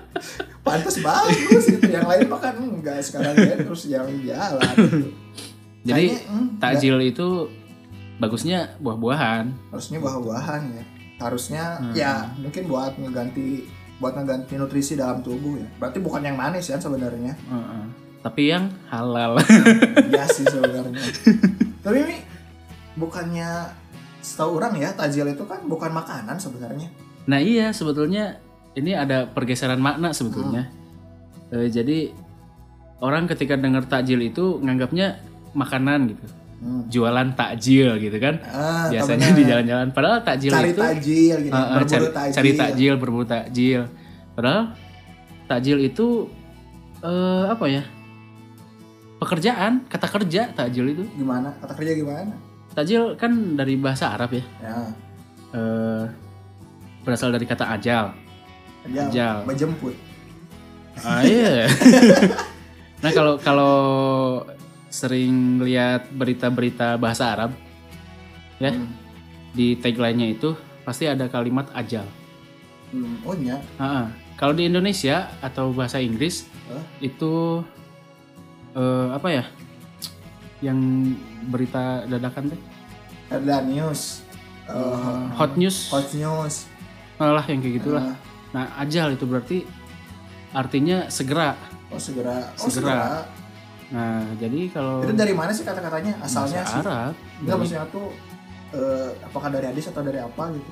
B: [LAUGHS] pantas bagus gitu yang lain mah kan enggak sekarang ya terus yang jalan gitu.
A: [LAUGHS] jadi
B: Kayaknya, hmm, enggak.
A: takjil itu bagusnya buah-buahan
B: harusnya buah-buahan ya harusnya
A: Hmm.
B: ya mungkin buat ngeganti buat ngeganti nutrisi dalam tubuh ya berarti bukan yang manis kan sebenarnya
A: Heeh. tapi yang halal
B: Iya sih sebenarnya. Tapi Mi, bukannya setahu orang ya tajil itu kan bukan makanan sebenarnya.
A: Nah iya sebetulnya ini ada pergeseran makna sebetulnya.
B: Hmm.
A: Eh, jadi orang ketika dengar takjil itu nganggapnya makanan gitu,
B: Hmm.
A: jualan takjil gitu kan.
B: Ah,
A: Biasanya
B: temennya
A: di jalan-jalan. Padahal takjil
B: cari
A: itu
B: tajil gitu,
A: Eh, eh,
B: berburu
A: cari,
B: tajil.
A: cari takjil, berburu takjil. Padahal takjil itu eh, apa ya? Pekerjaan, kata kerja takjil itu.
B: Gimana? Kata kerja gimana?
A: Takjil kan dari bahasa Arab ya.
B: Ya,
A: Eh, berasal dari kata ajal.
B: kerja
A: Ajal.
B: menjemput.
A: Ah
B: [LAUGHS]
A: iya. nah kalau kalau sering lihat berita-berita bahasa Arab Ya.
B: Hmm.
A: di tagline-nya itu pasti ada kalimat ajal.
B: Hmm. Oh iya.
A: Ah, ah. Kalau di Indonesia atau bahasa Inggris
B: Hah?
A: itu eh, apa ya? Yang berita dadakan deh.
B: Ada news. Eh,
A: Hmm, Hot news.
B: hot news.
A: Lah yang kayak gitulah.
B: Eh,
A: Nah, ajal itu berarti artinya segera.
B: oh segera. Oh
A: Segera.
B: segera.
A: Nah, jadi kalau
B: Itu dari mana sih kata-katanya?
A: bahasa
B: Asalnya sih.
A: Arab
B: Enggak
A: dari-
B: maksudnya tuh eh, apakah dari hadis atau dari apa gitu?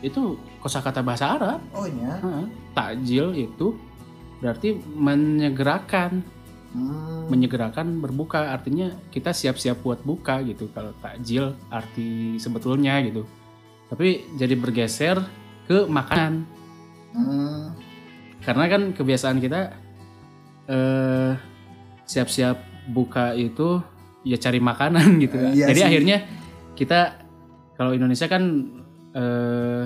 A: itu kosakata bahasa Arab.
B: Oh iya.
A: Heeh. Takjil itu berarti menyegerakan,
B: Hmm.
A: menyegerakan berbuka. Artinya kita siap-siap buat buka gitu. Kalau takjil arti sebetulnya gitu. Tapi jadi bergeser ke makanan.
B: Hmm.
A: Karena kan kebiasaan kita eh siap-siap buka itu ya cari makanan [LAUGHS] gitu. kan.
B: Iya
A: jadi
B: sih.
A: akhirnya kita kalau Indonesia kan eh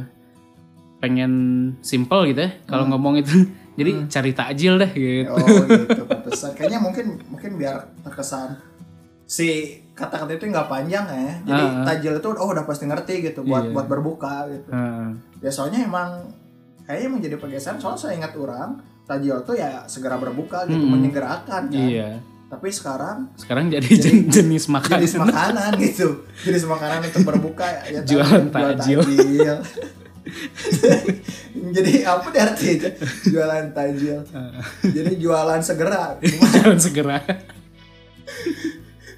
A: pengen simple gitu ya kalau
B: Hmm.
A: ngomong itu. [LAUGHS] Jadi
B: Hmm.
A: cari takjil deh gitu.
B: Oh gitu pantesan. Kayaknya mungkin mungkin biar terkesan si kata-kata itu nggak panjang ya. Jadi
A: Ah, ah.
B: tajil itu oh udah pasti ngerti gitu buat
A: Iya.
B: buat berbuka gitu.
A: Heeh.
B: Ya soalnya emang kayaknya menjadi pergeseran soalnya saya ingat orang tajil tuh ya segera berbuka gitu
A: Mm-mm.
B: menyegerakan kan.
A: Hmm. iya.
B: tapi sekarang
A: Sekarang jadi, jen-
B: Jadi- [LAUGHS]
A: jenis makan.
B: jenis makanan gitu jenis makanan untuk berbuka
A: [LAUGHS]
B: ya tadi,
A: Jualan takjil.
B: takjil. [LAUGHS] jadi apa deh artinya jualan tajil jadi jualan segera
A: [LAUGHS] Jangan segera.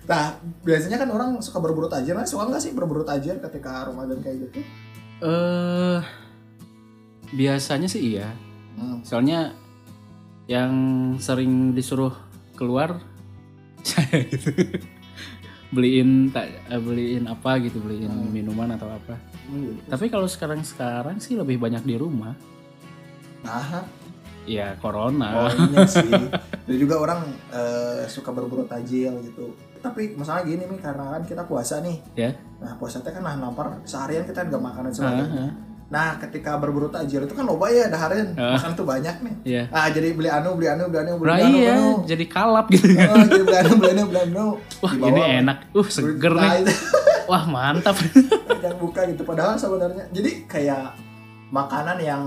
B: nah biasanya kan orang suka berburu tajil nah, suka nggak sih berburu tajil ketika Ramadan kayak gitu
A: Eh biasanya sih iya.
B: hmm.
A: Soalnya yang sering disuruh keluar [LAUGHS] saya gitu. beliin tak eh, beliin apa gitu, beliin
B: Hmm.
A: minuman atau apa.
B: gitu.
A: Tapi kalau sekarang-sekarang sih lebih banyak di rumah.
B: nah
A: Ya corona. [LAUGHS]
B: poinnya sih dan juga orang eh, suka berburu tajil gitu tapi masalah gini nih karena kan kita puasa nih
A: Ya. Ah.
B: nah puasa teh kan nahan lapar seharian kita nggak makanan sebagainya
A: Heeh.
B: Nah, ketika berburu takjil itu kan loba ya daharin.
A: Ah.
B: Makan tuh banyak nih.
A: Iya.
B: Ah, jadi beli anu, beli anu, beli anu, beli
A: Nah,
B: anu. beli
A: iya,
B: anu.
A: jadi kalap gitu kan.
B: Oh, jadi beli anu, beli anu, beli anu.
A: Wah,
B: Dibawa,
A: ini
B: Bang.
A: enak. Uh, seger
B: Nah,
A: nih.
B: itu
A: Wah, mantap.
B: [LAUGHS] yang buka gitu. Padahal sebenarnya jadi kayak makanan yang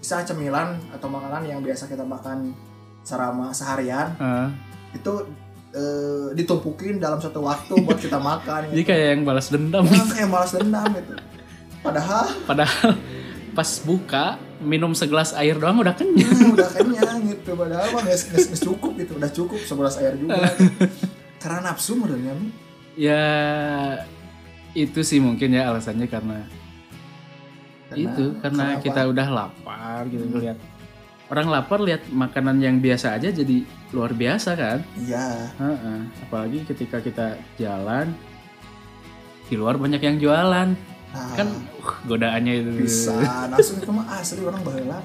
B: bisa cemilan atau makanan yang biasa kita makan selama seharian
A: Heeh.
B: itu eh, ditumpukin dalam satu waktu buat
A: [LAUGHS]
B: kita makan
A: jadi
B: gitu.
A: kayak yang balas dendam.
B: Orang kayak malas dendam gitu. Padahal
A: Padahal pas buka minum segelas air doang udah kenyang.
B: Hmm, udah kenyang gitu padahal mah nggak nggak- nggak cukup gitu udah cukup sebelas air juga karena nafsu menurutnya Mi.
A: Ya itu sih mungkin ya alasannya karena,
B: Karena-
A: itu karena
B: apa?
A: kita udah lapar gitu
B: Hmm.
A: lihat. Orang lapar lihat makanan yang biasa aja jadi luar biasa kan.
B: iya
A: Heeh. Apalagi ketika kita jalan di luar banyak yang jualan
B: nah,
A: kan uh, godaannya itu
B: bisa nafsu itu mah asli orang baheula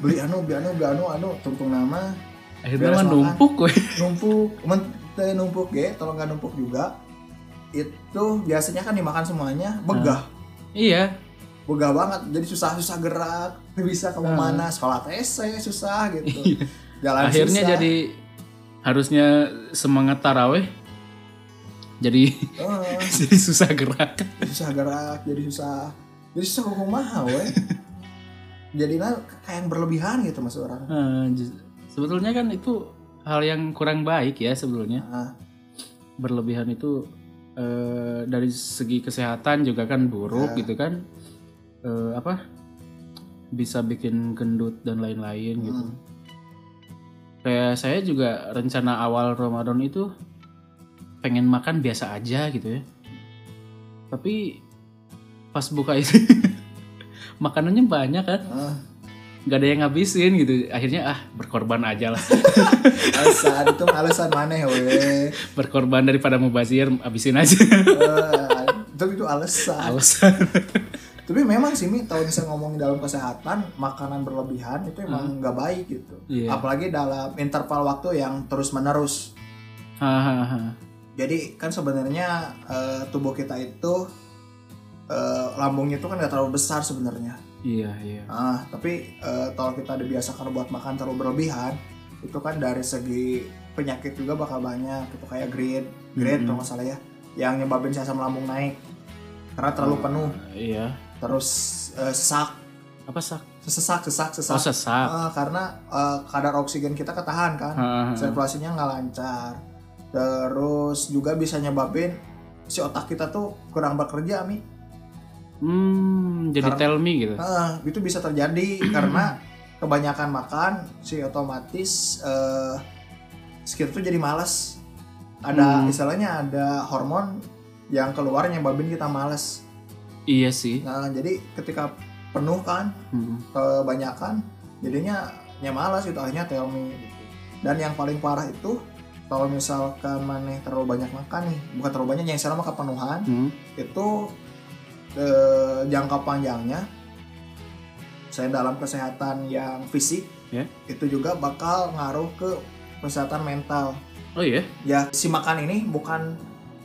B: beli anu beli anu beli anu anu tungtung nama
A: akhirnya
B: Beres
A: mah
B: makan.
A: numpuk weh.
B: numpuk men teu numpuk ge tolong nggak numpuk juga itu biasanya kan dimakan semuanya begah
A: iya
B: begah banget jadi susah susah gerak nggak bisa
A: Ah.
B: kamu
A: Iya.
B: mana sholat ese susah
A: [LAUGHS]
B: gitu jalan
A: akhirnya
B: susah.
A: jadi harusnya semangat taraweh jadi [LAUGHS]
B: Eh.
A: jadi susah gerak
B: susah gerak jadi susah jadi susah kok mahal
A: [LAUGHS]
B: we jadi nah, kayak yang berlebihan gitu mas orang
A: Eh, j- sebetulnya kan itu hal yang kurang baik ya sebetulnya
B: nah,
A: berlebihan itu eh, dari segi kesehatan juga kan buruk
B: Ya.
A: gitu kan Eh, apa bisa bikin gendut dan lain-lain gitu
B: Hmm.
A: kayak saya juga rencana awal Ramadan itu pengen makan biasa aja gitu ya tapi pas buka itu [LAUGHS] makanannya banyak kan
B: ah,
A: nggak ada yang ngabisin gitu akhirnya ah berkorban aja lah
B: alasan itu alasan maneh we
A: berkorban daripada mubazir abisin aja
B: Eh, tapi itu alasan
A: [LAUGHS] alasan
B: tapi memang sih mi kalau misalnya ngomongin dalam kesehatan makanan berlebihan itu emang nggak baik gitu
A: Hmm. Iya.
B: apalagi dalam interval waktu yang terus menerus
A: Hahaha.
B: jadi kan sebenarnya eh, tubuh kita itu eh, lambungnya itu kan nggak terlalu besar sebenarnya
A: iya iya
B: Ah, tapi eh, kalau kita dibiasakan buat makan terlalu berlebihan, itu kan dari segi penyakit juga bakal banyak. Itu kayak grade, grade
A: Mhm.
B: kalau nggak salah ya, yang nyebabin asam lambung naik karena terlalu penuh,
A: iya
B: terus eh, sesak,
A: apa sak
B: sesak, sesak, sesak.
A: oh sesak
B: Ah, karena eh, kadar oksigen kita ketahan kan,
A: Hahaha.
B: sirkulasinya nggak lancar. Terus juga bisa nyebabin si otak kita tuh kurang bekerja, mi.
A: hmm jadi
B: Karena-
A: tell me gitu
B: Nah, itu bisa
A: [CLEARS THROAT]
B: terjadi karena kebanyakan makan si otomatis eh sekitar tuh jadi malas. Ada
A: Hmm.
B: istilahnya ada hormon yang keluar nyebabin kita malas.
A: iya sih
B: Nah, jadi ketika penuh kan
A: Hmm.
B: kebanyakan jadinya nya malas gitu akhirnya tell me gitu. Dan yang paling parah itu kalau misalkan maneh terlalu banyak makan nih, bukan terlalu banyak yang selama kepenuhan,
A: Hmm.
B: itu eh, jangka panjangnya saya dalam kesehatan yang fisik
A: Ya.
B: itu juga bakal ngaruh ke kesehatan mental
A: oh iya
B: ya si makan ini bukan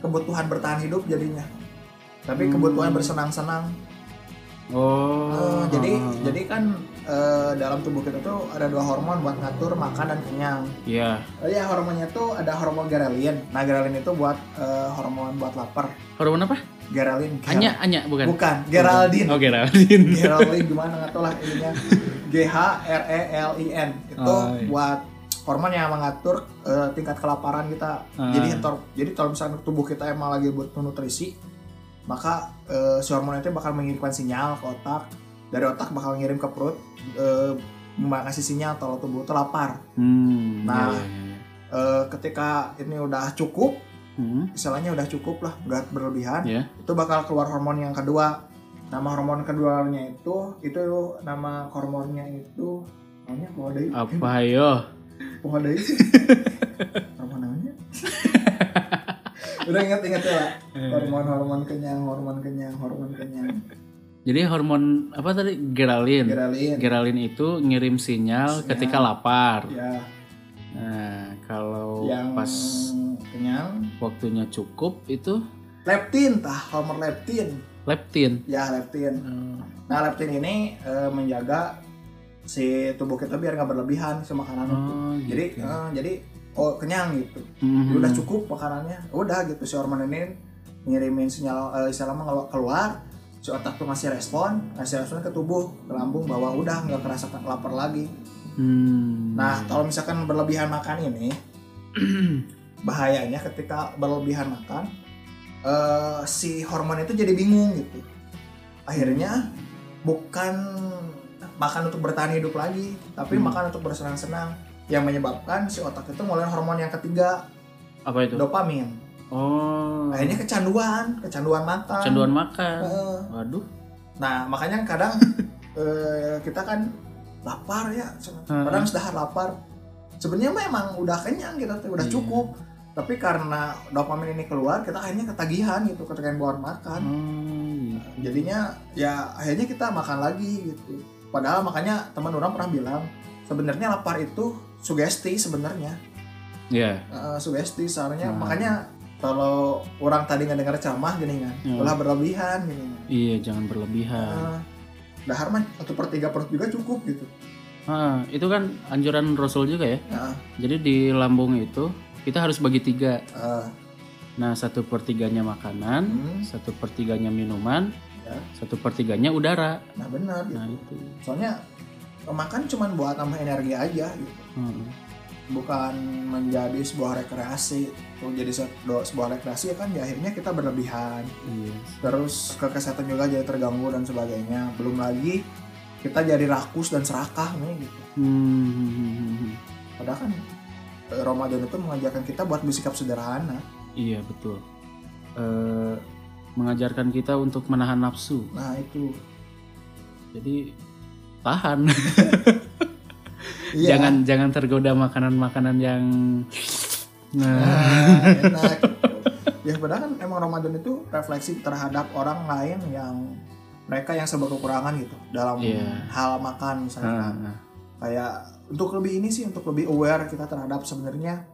B: kebutuhan bertahan hidup jadinya
A: Hmm.
B: tapi kebutuhan bersenang-senang Eh,
A: oh
B: jadi
A: hahaha.
B: jadi kan eh, dalam tubuh kita tuh ada dua hormon buat ngatur makan dan kenyang
A: iya
B: oh ya hormonnya tuh ada hormon ghrelin nah ghrelin itu buat eh, hormon buat lapar
A: hormon apa
B: ghrelin
A: anya anya bukan
B: bukan Geraldine Iya.
A: oh Geraldine
B: Geraldine gimana nggak tau lah ininya G H R E L I N itu
A: Oh, iya.
B: buat hormon yang mengatur eh, tingkat kelaparan kita.
A: Ah.
B: Jadi tor- jadi kalau misalnya tubuh kita emang lagi butuh nutrisi, maka eh, si hormon itu bakal mengirimkan sinyal ke otak, dari otak bakal ngirim ke perut, eh, kasih sinyal kalau tubuh itu lapar.
A: Hmm,
B: Nah.
A: ya, ya, ya.
B: Eh, ketika ini udah cukup,
A: Hmm,
B: istilahnya udah cukup lah, udah berlebihan,
A: Iya.
B: itu bakal keluar hormon yang kedua. Nama hormon keduanya itu, itu nama hormonnya itu, namanya pohon deui.
A: apa yo?
B: Pohon
A: [LAUGHS]
B: deui. hormon namanya? udah ingat-ingat ya lah. Hormon-hormon kenyang, hormon kenyang, hormon kenyang.
A: Jadi hormon apa tadi? Ghrelin.
B: Geralin.
A: Ghrelin itu ngirim sinyal
B: Sinyal.
A: ketika lapar.
B: Ya,
A: Nah, kalau
B: yang
A: pas
B: kenyang.
A: waktunya cukup itu
B: Leptin, tah hormon leptin.
A: leptin.
B: Ya, leptin.
A: Eh,
B: Nah, leptin ini eh, menjaga si tubuh kita biar nggak berlebihan si makanan itu.
A: Oh,
B: jadi
A: gitu.
B: eh, jadi oh kenyang gitu
A: Mhm.
B: udah cukup makanannya udah gitu si hormon ini ngirimin sinyal eh, sinyal mah ngelu- keluar si otak tuh ngasih respon ngasih respon ke tubuh ke lambung bahwa udah nggak kerasa lapar lagi
A: Hmm.
B: nah kalau misalkan berlebihan makan ini bahayanya ketika berlebihan makan eh, si hormon itu jadi bingung gitu akhirnya bukan makan untuk bertahan hidup lagi tapi
A: Hmm.
B: makan untuk bersenang-senang yang menyebabkan si otak itu ngeluarin hormon yang ketiga
A: [CLEARS THROAT] apa itu?
B: dopamin
A: Oh.
B: akhirnya kecanduan kecanduan makan
A: kecanduan makan.
B: Eh,
A: Waduh.
B: nah makanya kadang
A: [LAUGHS]
B: eh, kita kan lapar ya kadang sudah lapar sebenarnya memang udah kenyang kita tuh udah
A: Iya.
B: cukup tapi karena dopamin ini keluar kita akhirnya ketagihan gitu ketagihan buat makan
A: Hmm.
B: jadinya ya akhirnya kita makan lagi gitu padahal makanya teman orang pernah bilang sebenarnya lapar itu sugesti sebenarnya
A: Ya.
B: Eh, sugesti soalnya
A: Hmm.
B: makanya kalau orang tadi nggak dengar ceramah gini kan
A: Hmm.
B: ulah berlebihan gini kan
A: Iya, jangan berlebihan.
B: Eh, dahar mah satu per tiga perut juga cukup gitu
A: Ah, itu kan anjuran Rasul juga ya.
B: Nah,
A: Jadi di lambung itu kita harus bagi tiga.
B: eh,
A: Nah, satu pertiganya makanan,
B: hmm,
A: satu pertiganya minuman,
B: Ya.
A: satu pertiganya udara.
B: nah benar gitu.
A: Nah itu.
B: soalnya makan cuman buat tambah energi aja gitu
A: Hmm.
B: bukan menjadi sebuah rekreasi Kalau jadi se- do- sebuah rekreasi ya kan ya akhirnya kita berlebihan
A: Iya.
B: terus ke kesehatan juga jadi terganggu dan sebagainya belum lagi kita jadi rakus dan serakah nih gitu
A: Hmm.
B: padahal kan eh, Ramadan itu mengajarkan kita buat bersikap sederhana
A: Iya betul. Eh, mengajarkan kita untuk menahan nafsu.
B: nah itu
A: Jadi tahan. [LAUGHS]
B: Iya.
A: Jangan jangan tergoda makanan-makanan yang nah,
B: Nah, enak gitu. ya padahal kan emang Ramadan itu refleksi terhadap orang lain yang mereka yang serba kekurangan gitu dalam
A: Iya.
B: hal makan misalnya
A: nah,
B: kayak untuk lebih ini sih untuk lebih aware kita terhadap sebenarnya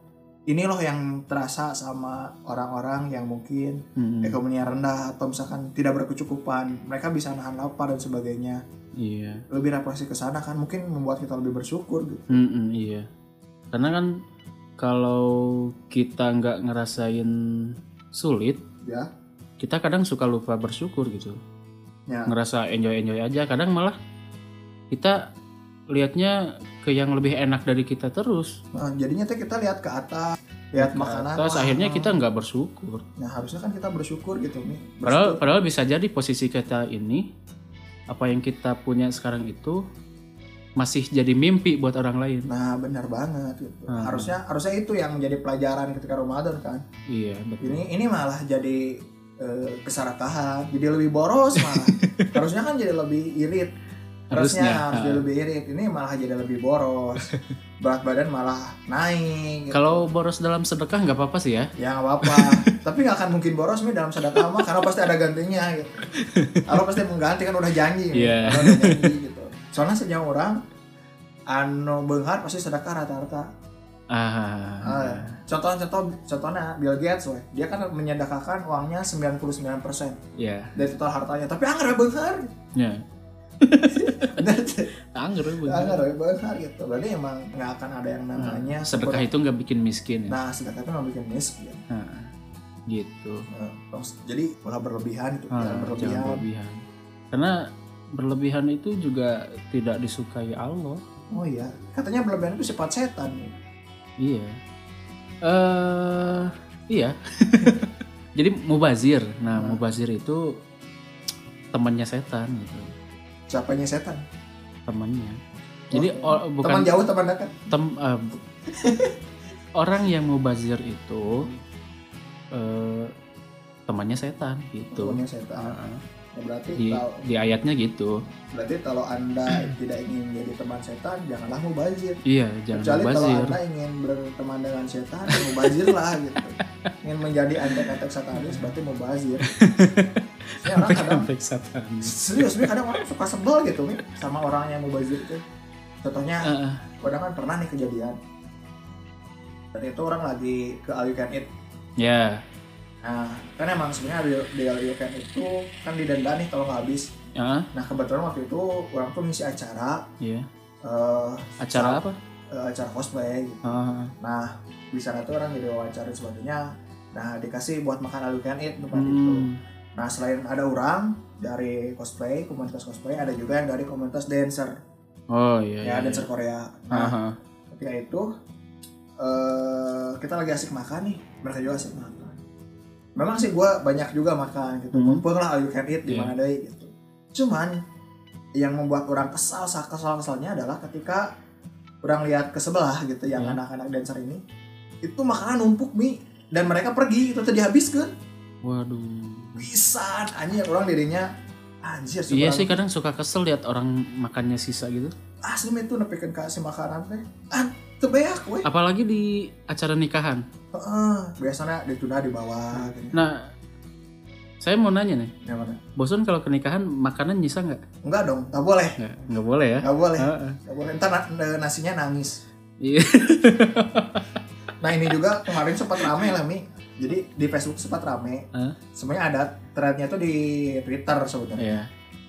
B: ini loh yang terasa sama orang-orang yang mungkin
A: hmm,
B: ekonominya rendah atau misalkan tidak berkecukupan mereka bisa nahan lapar dan sebagainya
A: iya.
B: lebih refleksi ke sana kan mungkin membuat kita lebih bersyukur gitu
A: Mm-mm, iya. Karena kan kalau kita nggak ngerasain sulit,
B: Ya.
A: kita kadang suka lupa bersyukur gitu.
B: Ya.
A: Ngerasa enjoy-enjoy aja, kadang malah kita lihatnya ke yang lebih enak dari kita terus.
B: Nah, jadinya tuh kita lihat ke atas lihat
A: Ke
B: makanan
A: atas,
B: wah,
A: Nah, akhirnya kita nggak bersyukur.
B: Nah harusnya kan kita bersyukur gitu nih.
A: Padahal,
B: Bersyukur.
A: padahal bisa jadi posisi kita ini, apa yang kita punya sekarang itu masih jadi mimpi buat orang lain.
B: Nah benar banget gitu.
A: Hmm.
B: Harusnya harusnya itu yang menjadi pelajaran ketika Ramadan kan.
A: Iya, betul.
B: Ini ini malah jadi eh, keserakahan, jadi lebih boros
A: [LAUGHS]
B: malah. harusnya kan jadi lebih irit. Harusnya harus jadi lebih irit. Ini malah jadi lebih boros.
A: [LAUGHS]
B: Berat badan malah naik. Gitu.
A: Kalau boros dalam sedekah nggak apa-apa sih ya.
B: Ya nggak
A: [LAUGHS]
B: apa-apa. Tapi nggak akan mungkin boros nih dalam sedekah mah karena pasti ada gantinya gitu. Kalau pasti mengganti kan udah janji. gitu.
A: Iya.
B: Kalau udah janji gitu. Soalnya sejauh orang anu benghar pasti sedekah rata-rata.
A: Ah,
B: Ah, Contoh-contoh contohnya Bill Gates weh. Dia kan menyedekahkan uangnya 99%
A: ya,
B: dari total hartanya. Tapi anggar ya benghar.
A: ya,
B: Bener,
A: anggur bener.
B: Anggar ya benghar gitu. Berarti emang nggak akan ada yang namanya
A: Ah. Nah, Sedekah itu nggak bikin miskin ya.
B: Nah, sedekah itu nggak bikin miskin.
A: Ah, gitu.
B: Nah, terus- jadi malah berlebihan gitu.
A: Ah,
B: Jangan berlebihan.
A: jangan berlebihan. Karena berlebihan itu juga tidak disukai Allah.
B: Oh iya, katanya berlebihan itu sifat setan.
A: Iya. Eh,
B: [LAUGHS]
A: iya. Jadi Mubazir. Nah,
B: Hmm.
A: Mubazir itu temannya setan gitu.
B: Siapanya setan?
A: Temannya. Jadi o- bukan
B: Oh, Teman jauh, teman dekat.
A: tem- eh,
B: [LAUGHS]
A: orang yang Mubazir itu eh temannya setan gitu.
B: Temannya setan.
A: Heeh.
B: Ya, berarti
A: Di,
B: kalau
A: di ayatnya gitu.
B: berarti kalau
A: [CLEARS THROAT]
B: anda tidak ingin jadi teman setan, janganlah mubazir.
A: Iya, jangan
B: Kecuali kalau
A: Mubazir. [LAUGHS]
B: anda ingin berteman dengan setan, ya mubazirlah gitu. Ingin menjadi antek-antek satanis, berarti
A: [LAUGHS]
B: mubazir. Ya, orang kadang
A: Sampai satanis.
B: serius nih kadang orang suka sebel gitu nih sama orang yang mubazir tuh. Contohnya
A: Heeh.
B: kadang kan pernah nih kejadian dan itu orang lagi ke all you can eat
A: Ya.
B: nah kan emang sebenarnya di, di all you can eat itu kan didenda nih kalau nggak habis
A: Heeh,
B: nah kebetulan waktu itu orang tuh ngisi acara
A: iya.
B: eh,
A: Acara
B: saat-
A: apa?
B: eh, acara cosplay gitu.
A: Heeh.
B: nah di sana tuh orang diwawancara dan sebagainya nah dikasih buat makan all you can eat tempat itu
A: Hmm.
B: nah selain ada orang dari cosplay komunitas cosplay ada juga yang dari komunitas dancer
A: Oh iya. iya,
B: ya
A: iya.
B: dancer Korea nah
A: Aha.
B: ketika itu eh kita lagi asik makan nih mereka juga asik makan memang sih gue banyak juga makan gitu
A: Mhm.
B: mumpung lah all you can eat di mana deh gitu cuman yang membuat orang kesal kesal kesalnya adalah ketika orang lihat ke sebelah gitu yang
A: Iya.
B: anak-anak dancer ini itu makanan numpuk mi dan mereka pergi itu tuh dihabiskan
A: Waduh.
B: bisa anjir orang dirinya anjir
A: Iya
B: seberang-
A: sih kadang suka kesel lihat orang makannya sisa gitu.
B: asli mi itu nepikan kasih makanan teh ah tebeak weh
A: Apalagi di acara nikahan.
B: Heeh, biasanya ditunda di bawah gitu.
A: Ah. Nah, saya mau nanya nih,
B: Yang mana?
A: bosan kalau ke nikahan makanan nyisa nggak?
B: Enggak dong, nggak boleh.
A: Nggak, nggak boleh ya?
B: Nggak boleh.
A: Heeh.
B: Nggak boleh. Ntar na- na- nasinya nangis.
A: Iya.
B: Nah ini juga kemarin sempat rame lah Mi. Jadi di Facebook sempat rame.
A: Hah?
B: Semuanya ada threadnya tuh di Twitter sebetulnya.
A: Iya.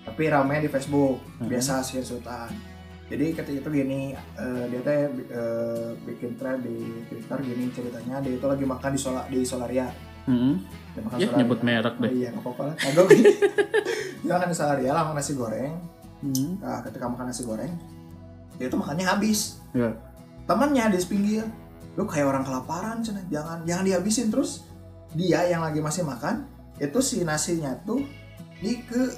B: Tapi rame di Facebook.
A: Mhm.
B: Biasa screenshotan. Jadi ketika itu gini, eh, dia teh eh, bikin thread di Twitter gini ceritanya. Dia itu lagi makan di sola, di Solaria.
A: Mm-mm.
B: Dia makan
A: Ya,
B: Solaria.
A: nyebut merek
B: Oh,
A: deh.
B: iya, nggak apa-apa lah. Kagok. [LAUGHS] Dia makan di Solaria, langsung nasi goreng.
A: Mm.
B: Nah, ketika makan nasi goreng, dia tuh makannya habis.
A: Iya.
B: Temannya di pinggir, lu kayak orang kelaparan, Cen. jangan jangan dihabisin terus. Dia yang lagi masih makan, itu si nasinya tuh di ke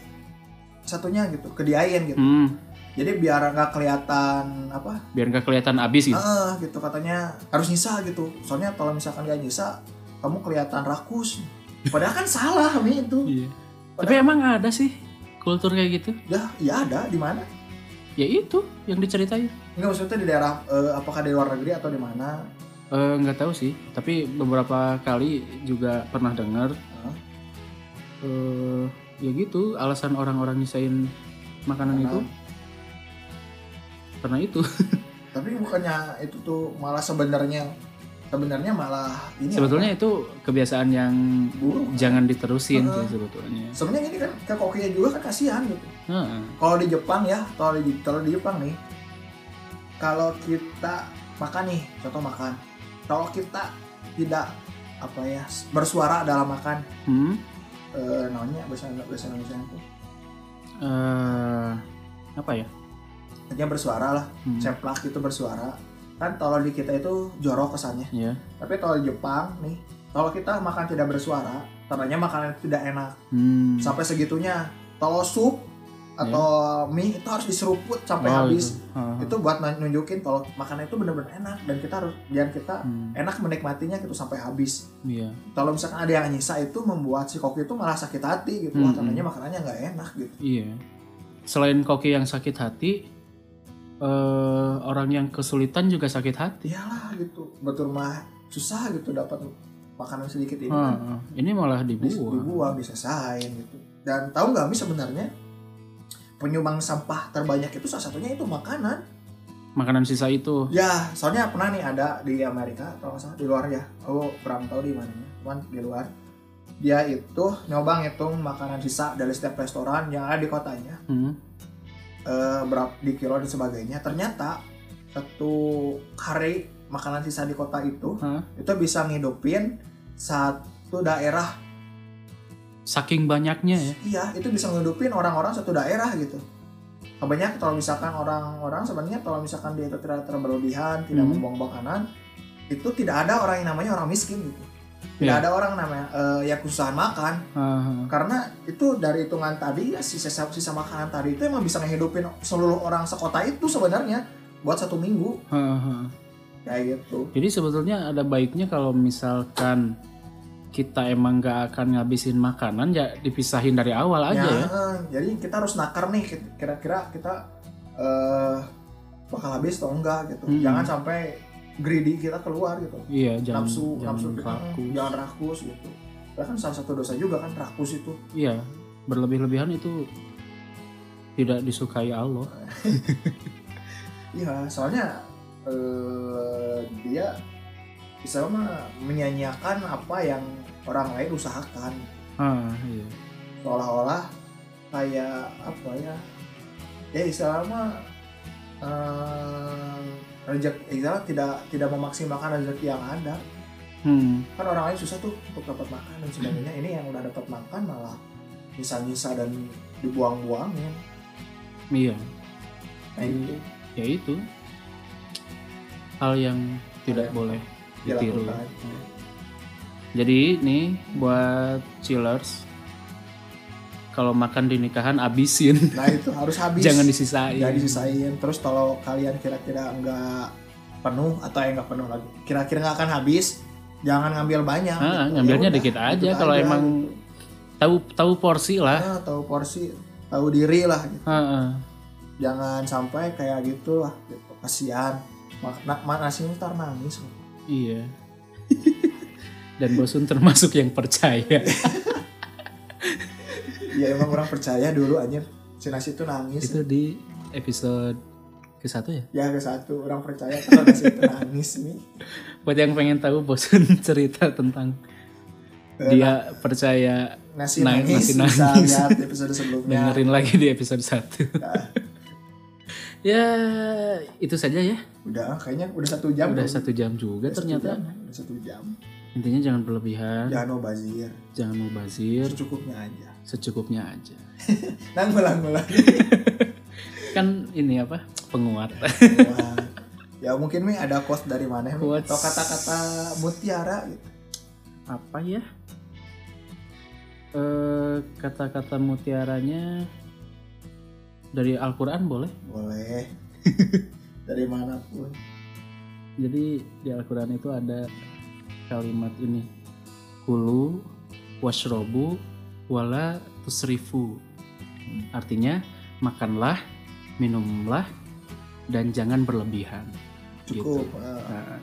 B: satunya gitu, ke diain gitu.
A: Mm.
B: Jadi biar nggak kelihatan apa,
A: Biar nggak kelihatan abis gitu.
B: eh gitu katanya harus nyisa gitu. Soalnya kalau misalkan gak nyisa, kamu kelihatan rakus. Padahal kan salah Mi itu.
A: Iya. Tapi emang ada sih kultur kayak gitu?
B: Dah, ya ada di mana?
A: Ya itu yang diceritain.
B: Enggak maksudnya di daerah eh, apakah di luar negeri atau di mana?
A: Eh, nggak tahu sih, tapi beberapa kali juga pernah dengar
B: Heeh.
A: eh ya gitu alasan orang-orang nyisain makanan
B: Karena-
A: itu karena itu
B: tapi bukannya itu tuh malah sebenarnya sebenarnya malah ini
A: sebetulnya itu kebiasaan yang
B: apa? buruk
A: jangan diterusin
B: Heeh.
A: sih sebetulnya
B: sebenarnya ini kan ke kokinya juga kan kasihan gitu
A: Heeh.
B: kalau di Jepang ya kalau di kalau di Jepang nih kalau kita makan nih contoh makan kalau kita tidak apa ya bersuara dalam makan
A: hmm?
B: eh, namanya bahasa bahasa Indonesia itu
A: Eh, apa ya
B: hanya bersuara lah
A: Hmm,
B: ceplak gitu bersuara kan kalau di kita itu jorok kesannya
A: ya
B: tapi kalau di Jepang nih kalau kita makan tidak bersuara tandanya makanan tidak enak
A: Hmm.
B: sampai segitunya kalau sup atau mie itu harus diseruput sampai
A: Iya. Oh,
B: habis
A: itu. Hmm. Heeh.
B: itu. buat nunjukin kalau makanan itu benar-benar enak dan kita harus biar kita
A: Hmm,
B: enak menikmatinya gitu sampai habis
A: iya
B: kalau misalkan ada yang nyisa itu membuat si koki itu malah sakit hati gitu Wah,
A: Hmm.
B: tandanya makanannya nggak enak gitu
A: iya selain koki yang sakit hati eh orang yang kesulitan juga sakit hati
B: iyalah gitu betul mah susah gitu dapat makanan sedikit ini kan.
A: Heeh. ini malah
B: Dis-
A: dibuang
B: dibuang disesain gitu dan tahu nggak mi sebenarnya penyumbang sampah terbanyak itu salah satunya itu makanan
A: makanan sisa itu
B: Ya, soalnya pernah nih ada di Amerika atau nggak salah di luar ya. Aku kurang tahu di mananya, cuman di luar. Dia itu nyoba ngitung makanan sisa dari setiap restoran yang ada di kotanya,
A: Hmm.
B: eh, berapa di kilo dan sebagainya. Ternyata satu hari makanan sisa di kota itu
A: Hah?
B: itu bisa ngidupin satu daerah.
A: saking banyaknya ya
B: Iya, itu bisa ngidupin orang-orang satu daerah gitu. Kebanyakan kalau misalkan orang-orang sebenarnya kalau misalkan dia itu tidak terlalu berlebihan, tidak
A: Hmm.
B: membuang-buang kanan, itu tidak ada orang yang namanya orang miskin gitu. Tidak
A: Iya.
B: ada orang namanya eh, yang kesusahan makan
A: Ah,
B: karena itu dari hitungan tadi ya sisa sisa makanan tadi itu emang bisa ngehidupin seluruh orang sekota itu sebenarnya buat satu minggu
A: ah, ah.
B: kayak gitu.
A: Jadi sebetulnya ada baiknya kalau misalkan kita emang nggak akan ngabisin makanan ya dipisahin dari awal aja ya.
B: eh, jadi kita harus nakar nih kit- kira-kira kita eh bakal habis atau enggak gitu.
A: Mm-mm.
B: Jangan sampai greedy kita keluar gitu.
A: Iya, jangan
B: nafsu
A: jangan
B: nafsu kita
A: kaku.
B: eh, jangan rakus gitu. Itu kan salah satu dosa juga kan rakus itu.
A: Iya, berlebih-lebihan itu tidak disukai Allah.
B: Iya, soalnya eh, dia bisa mah menyanyiakan apa yang orang lain usahakan,
A: Ah, iya.
B: seolah-olah kayak apa ya? Ya istilahnya mah, eh, rezeki istilah tidak tidak memaksimalkan rezeki yang ada.
A: Hmm,
B: Kan orang lain susah tuh untuk dapat makan dan sebagainya. Ini yang udah dapat makan malah nyisa-nyisa dan dibuang-buangin.
A: iya.
B: Nah, itu
A: Ya itu hal yang tidak
B: Hal yang
A: boleh Iya, ditiru.
B: dilakukan.
A: Jadi nih buat chillers kalau makan di nikahan abisin,
B: Nah itu harus habis.
A: jangan disisain.
B: Jadi sisain terus kalau kalian kira-kira nggak penuh atau yang nggak penuh lagi kira-kira nggak akan habis jangan ngambil banyak
A: Ah,
B: gitu.
A: ngambilnya
B: Ya udah,
A: dikit aja
B: dikit
A: kalau emang tahu tahu porsi lah.
B: Ah, tahu porsi tahu diri lah gitu.
A: Heeh.
B: jangan sampai kayak gitu lah gitu. kasihan Ma- na- ma- nasinya ntar nangis [LAUGHS]
A: Iya. Dan bosun termasuk yang percaya.
B: ya emang kurang percaya dulu anjir si nasi itu nangis
A: Itu di episode ke satu ya.
B: ya ke satu orang percaya kalau nasi itu nangis nih
A: Buat yang pengen tahu bosun [LAUGHS] cerita tentang
B: Eh,
A: dia percaya
B: nasi
A: Nang-
B: nangis,
A: nasi
B: bisa
A: nangis.
B: lihat episode sebelumnya
A: dengerin lagi di episode 1
B: Nah,
A: [LAUGHS] ya itu saja ya
B: udah ah, kayaknya udah satu jam
A: udah
B: belum?
A: satu jam juga
B: Ya, Satu
A: ternyata
B: jam, Ya. satu jam
A: intinya jangan berlebihan
B: jangan mubazir
A: jangan mubazir
B: secukupnya aja Nah,
A: secukupnya aja
B: nang ulang
A: [LAUGHS]
B: ulang
A: kan ini apa penguat
B: Wah. ya mungkin mi ada quote dari mana Mi?
A: Quotes.
B: atau kata-kata mutiara gitu
A: apa ya Eh, kata-kata mutiaranya dari Al-Quran boleh
B: boleh [LAUGHS] dari manapun
A: jadi di Al-Quran itu ada kalimat ini kulu washrobu wala tusrifu artinya makanlah minumlah dan jangan berlebihan
B: cukup
A: Gitu.
B: Eh,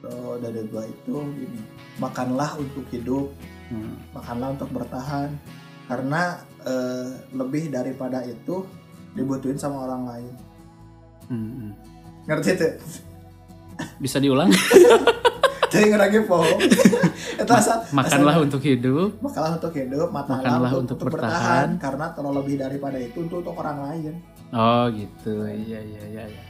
A: Nah,
B: kalau dari gua itu gini makanlah untuk hidup
A: hmm,
B: makanlah untuk bertahan karena eh, lebih daripada itu dibutuhin sama orang lain
A: hmm, hmm.
B: ngerti
A: [LAUGHS]
B: tuh
A: bisa diulang
B: jadi ngeragi
A: [LAUGHS]
B: pohon itu asal
A: makanlah untuk hidup
B: Makanlah untuk hidup, matalah,
A: Makanlah
B: untuk,
A: untuk
B: untuk bertahan. Karena kalau lebih daripada itu untuk, untuk orang lain.
A: oh gitu iya iya iya iya.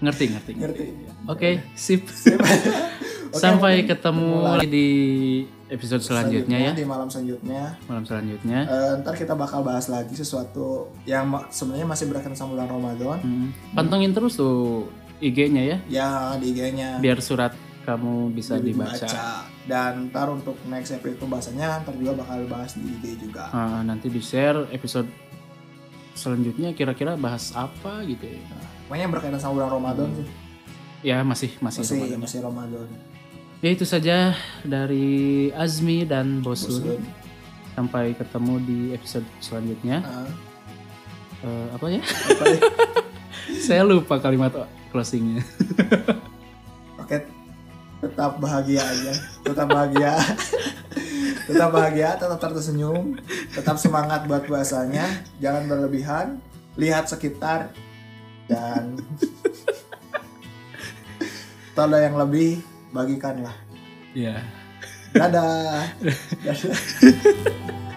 A: ngerti ngerti, ngerti.
B: Ngerti?
A: oke
B: [LAUGHS]
A: sip
B: Oke,
A: [LAUGHS] sampai
B: mungkin
A: ketemu lagi di episode selanjutnya ya
B: Di malam selanjutnya.
A: malam selanjutnya
B: Eh, ntar kita bakal bahas lagi sesuatu yang ma- sebenarnya masih berkaitan sama bulan Ramadan.
A: Hmm. Pantengin terus tuh IG-nya ya,
B: Ya di IG-nya
A: biar surat kamu bisa dibaca.
B: Dan ntar untuk next episode itu bahasanya ntar juga bakal bahas di IG juga.
A: Ah, nanti di-share episode selanjutnya kira-kira bahas apa gitu ya.
B: Pokoknya yang berkaitan sama bulan Ramadan sih.
A: Ya, masih masih,
B: Masih
A: Ramadan.
B: masih Ramadan.
A: Ya itu saja dari Azmi dan Bosun.
B: Bosun.
A: Sampai ketemu di episode selanjutnya.
B: Ah,
A: Eh, apa ya?
B: apa ya?
A: Saya lupa kalimat closingnya.
B: Oke, tetap bahagia aja, tetap bahagia, tetap bahagia, tetap tersenyum, tetap semangat buat puasanya, jangan berlebihan, lihat sekitar dan kalau ada yang lebih
A: Iya.
B: bagikanlah.
A: Ya.
B: Dadah. Dadah.